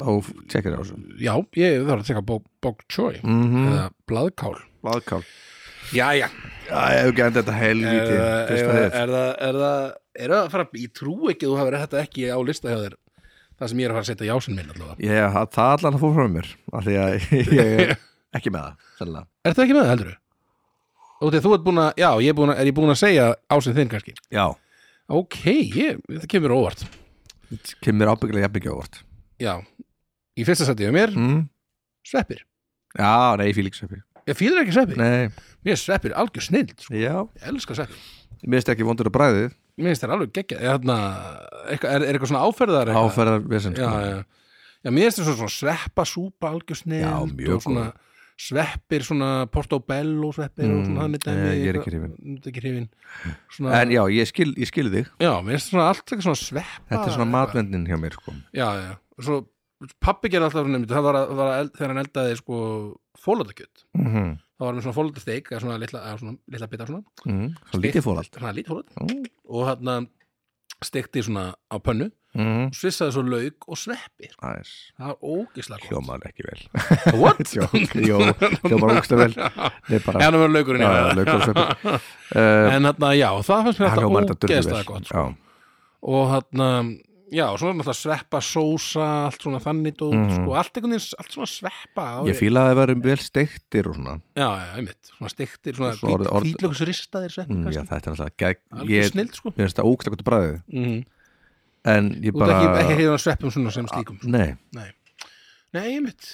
og tjekkir á þessu já, ég þarf að teka bokk tjói mm eða blaðkál blaðkál já, já, já, ég hef ekki enda þetta er, helviti það- eh, er, fyrsta það- hef. er það er það, er það að fara, ég trú ekki að þú hefur þetta ekki á lista hjá þér það sem ég er að fara að setja jásinn minn allavega ég, það það allan að fór frá mér af því að ég er ekki með það sennilega. Er það ekki með það heldur? Og þegar þú ert búin að, já, ég er, búin að, er ég búin að segja ásinn þinn kannski já, Ok, ég, þetta kemur óvart þetta kemur ábyggilega jafnbyggja ávart Já, í fyrsta sætti hjá mér, mm. sveppir já, nei, ég fíl ekki sveppi Ég fýður ekki sveppir, nei, mér er sveppir algjör snild sko. já, Ég elska sveppir, mér finnst ekki vondur að bræði mér finnst það alveg geggjað Ég þarna, eitthvað- er, er eitthvað svona áferðar eitthvað? áferðar vesend Já, já, já, mér finnst það svona sveppa súpa algjör snild Já, mjög og svona Sveppir, svona portobello sveppir og Mm, svona þannig dæmi eh, ég er ekki eitthvað- Þú ert ekki hrifin svona, en já, ég skil, ég skil þig Já, mér finnst svona allt ekki svona sveppa þetta er svona eitthvað. matvendin hjá mér sko. já, já, svo pappi gerði alltaf svona, einmitt, það var, að, það var að, eld- þegar hann eldaði sko fólatakjöt mm -hmm. það var með svona fólatasteg, eða svona litla, eða svona, litla bita svona, mm. svo lítið fólald svona lítið fólat mm. og hann stekti svona á pönnu mm. og svissaði svo lauk og sveppir Æs, það var ógislega gott hljómar ekki vel What? Jó, jó, hljómar ógsta vel Nei, bara, Já, það var laukurinn já, í já, það. laukur og sveppi uh, en hann, já, það fannst Hann mér hljómar þetta alltaf dörðu ógeðslega vel gott sko. Já, og hann, já, og svona alltaf sveppa sósa, allt svona þannig dót, Mhm. sko, allt einhvern veginn, allt svona sveppa á- Ég fíla að það verðum vel steiktir og svona Já, já, einmitt, svona stiktir, svona Svo orð- orð- hvítlöksristaðir sveppir mm, kannski. Já, þetta er alltaf gegg algjör Ég snild sko mér finnst það ógsta gott bræði mm. En ég bara... bara ekki, ekki hefðan sveppum svona sem slíkum sko. Nei, nei, mitt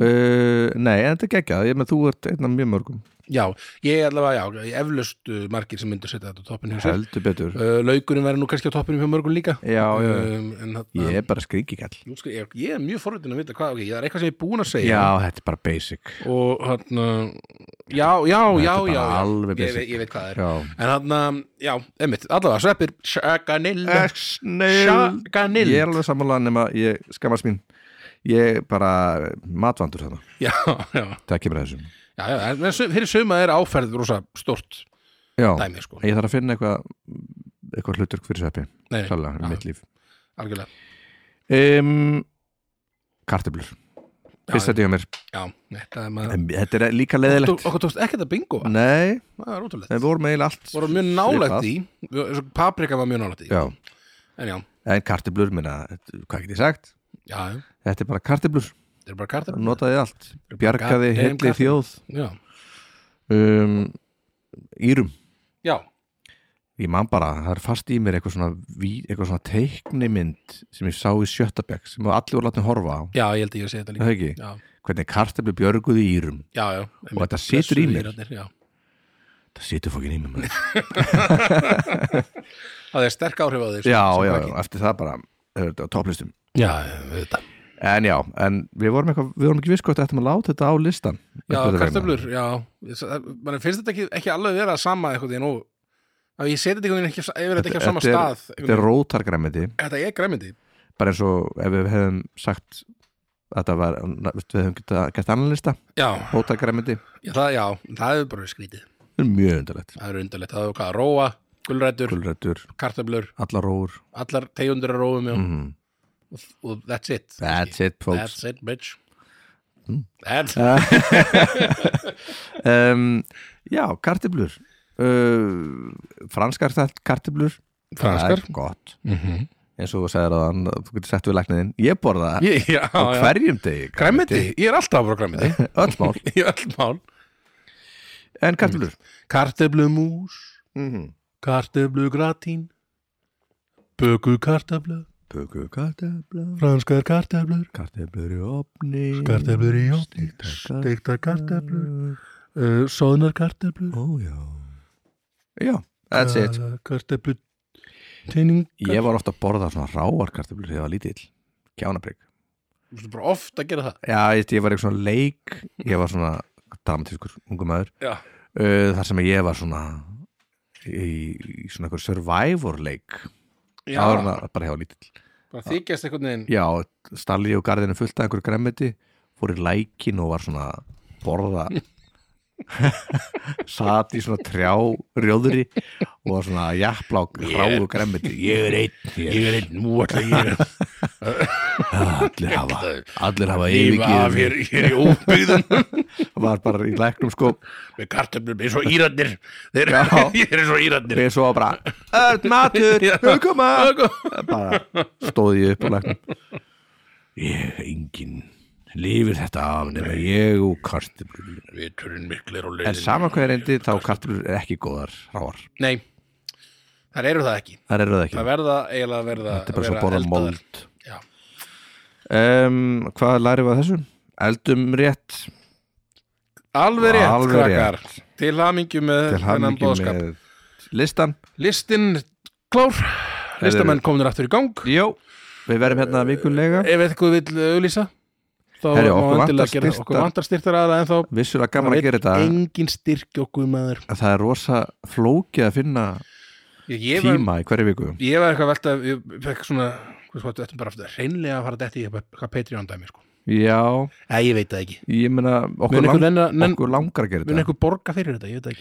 uh, nei, en þetta er geggjað Ég með þú ert einn af mjög mörgum já, ég allavega, já, ég eflaust uh, margir sem myndu setja þetta á toppinu hjá sér Heldur betur uh, laukurinn væri nú kannski á toppinu hjá mörgum líka Já, já, já. um, en þarna ég er bara skríkikall nú skal, ég, ég er mjög forröndin að vita hvað, ok, það er eitthvað sem ég er búin að segja Já, þetta er bara basic og hann já, já, já, er bara já, já. alveg Ég, basic. veit- ég veit hvað það er Já en hann, já, einmitt, allavega sveppir shaganilla, Eh. Snill shaganilla Ég er alveg sammála nema ég skammast mín Ég bara matvandur þarna já, já, Það kemur að þessum já, já, en sum- fyrir suma er áferð rosa stort Já, dæmi sko ég þarf að finna eitthvað eitthvað hluturk fyrir sveppi Nei, nei, Klálega, já. í mitt líf algjörlega um, Kartöblur Fyrst þetta ég mér já, þetta er maður en, Þetta er líka leðilegt okkur tókst ekkert að bingo það Nei, það er ótrúlegt við vorum eiginlega allt voru mjög nálægt í við- eins og paprika var mjög nálægt í Já, en já, en kartöblur minna Hvað get ég sagt? já, já, Þetta er bara kartöblur, þetta er bara kartar notaði allt Bjargaði Goddamn heilli kartöblur. þjóð já, um, Írum já, Ég man bara, það er fast í mér eitthvað svona, ví- eitthvað svona teiknimynd sem ég sá í Sjötabæk sem allir voru látni horfa á, já, ég held að ég sé þetta er það líka ekki? já, Hvernig kartabli björguð í írum já, já einmitt. þetta situr í Blessuðu mér. írarnir, já. Það situr fókin í mér maður. það er sterk áhrif á þig sko, Já, sem já, krakki. já, eftir það bara er þetta á topplistum. já, þetta En já, en við vorum, eitthvað, við vorum ekki viss hvort eftir að láta þetta á listan já, Einhverra vegna. kartöflur, já mann finnst þetta ekki, ekki alveg vera sama eitthvað en og að ég seti þetta einhvern veginn ekki á- yfir þetta ekki á sama Þetta er- stað Þetta er einhvern veginn. rótargræmiti, þetta er græmindi bara eins og ef við hefum sagt að þetta var, við hefum geta, gert annan lista, já, rótargræmiti já, það, já, það er bara skrítið Það er mjög undarlegt. það er undarlegt, það er hvað, róa, gulrætur Gulrætur, kartöflur, allar róur. allar tegundur að róum já, Mm. og, og that's it That's it, folks. that's it, bitch Mm. that's um, já, kartiblur uh, franskar þett kartiblur það Franskar. er gott mm -hmm. eins og þú segir að hann, þú getur sett við lækniðinn ég borða það ég, já, á já. hverjum degi græmiti, ég er alltaf frá græmiti öll mál, í öll mál en kartiblur kartöflu mús, mm kartöflu gratín böku kartöflu Puku kartiblur franskar kartöflur kartiblur í opni kartöflur í jóni, Steiktar steikta kartöflur uh, soðnar kartöflur ó já já, that's it uh, kartöflu teiningar ég var ofta að borða svona ráar kartiblur þegar ég var lítill kjánabrygg Þú veist bara oft að gera það já, ég, ég var eitthvað svona leik ég var svona dramatískur ungu maður já, uh, þar sem ég var svona í, í svona einhver survivor leik já, það var hann að- bara hjá lítill bara þykjast einhvern veginn já, stalli og garðinu fullt af einhverju græmmiti fór í lækin og var svona að borða satt í svona trjá rjóðri og var svona að jafla á gráðu græmmiti ég er einn, ég er einn, nú ætla ég að Ah, allir hafa allir hafa lifa af yfirgið hér, hér í óbyggðan var bara í læknum sko með kartöflum eins og íratnir þeir Já. þeir eru svo íratnir og svo bara, öll matur, Já. hugkoma já, bara stóð ég upp á læknum ég, engin lifir þetta af nema ég og kartöflur viturinn miklir og en leiðin saman hvað er endi þá kartöflur er ekki góðar ráar, nei, þar eru það ekki það eru það ekki það verða eiginlega að verða þetta er bara svo að borða mold Já. um, hvað lærum við að þessu? eldum rétt alveg rétt, Alveg krakkar til hamingju með til þennan hamingju bóðskap með listan listin klár listamenn kominur aftur í gang Jó, við verðum hérna vikulega ef eitthvað vill auðlýsa þá Herri, má okkur endilega vantar gera- styrktar- okkur vantar styrtar aðra en þá vissulega gaman að vill gera þetta engin styrk okkur maður en það er rosa flókið að finna ég, ég, var, tíma í hverju viku ég var eitthvað velta ég fekk svona hvað sko, þetta er bara aftur, hreinlega að fara þetta í eitthvað hvað Patreon dæmi sko. Já, Æ, ég veit það ekki ég meina okkur, mun lang, eitthvað, lenna, nenn, okkur langar að gera mun þetta eitthvað borga fyrir þetta, ég veit það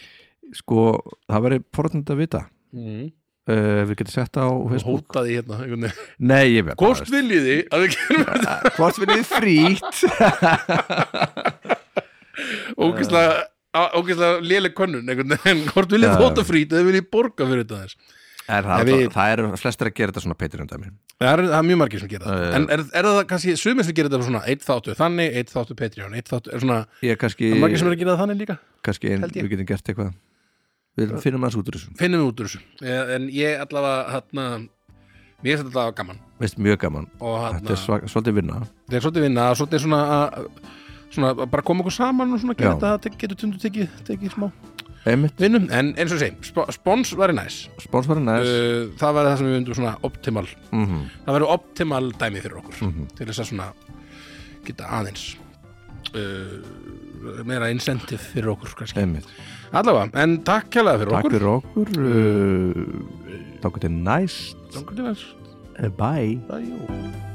ekki Sko, það verður forðnund að vita mm. uh, Við getum sett það á Facebook hótaði hérna einhvern veginn. Nei, ég veit hvort viljiði að við gerum þetta Hvort við niður frýtt ógeðslega- á- ógeðslega léleg könnun einhvern veginn hvort viljið Já. þóta frýt eða viljið borga fyrir þetta þess En það, Nei, við- það eru flestir að gera þetta svona Patreon dæmi það er, það er mjög margir sem gera Já, það já. en er, er það kannski sumir sem gera þetta svona eitt þáttu þannig, eitt þáttu Patreon eitt þáttu, er svona, Ég kannski, er margir sem er að gera það þannig líka kannski ein, held ég. við getum gert eitthvað Við finnum aðeins út úr þessu finnum við út úr þessu Eh, en ég allavega, hérna mér er þetta allavega gaman Veist, mjög gaman og Þetta hérna, er svag, svolítið vinna þetta er svolítið vinna svolítið svona að svona að bara koma okkur saman og svona Já. gera þetta það getur tundu tekið, tekið smá Einmitt, vinnum, en eins og ég segi, sp spons væri næs sponsvarinn er uh, það væri það sem við vundum svona optimal mm -hmm. það væri optimal dæmi fyrir okkur til þess að svona geta aðeins uh, meira incentive fyrir okkur kannski. Einmitt allavega, en takk kjærlega fyrir Takk okkur fyrir okkur Eh, uh, Takk fyrir næst Takk fyrir okkur Bye Bæjó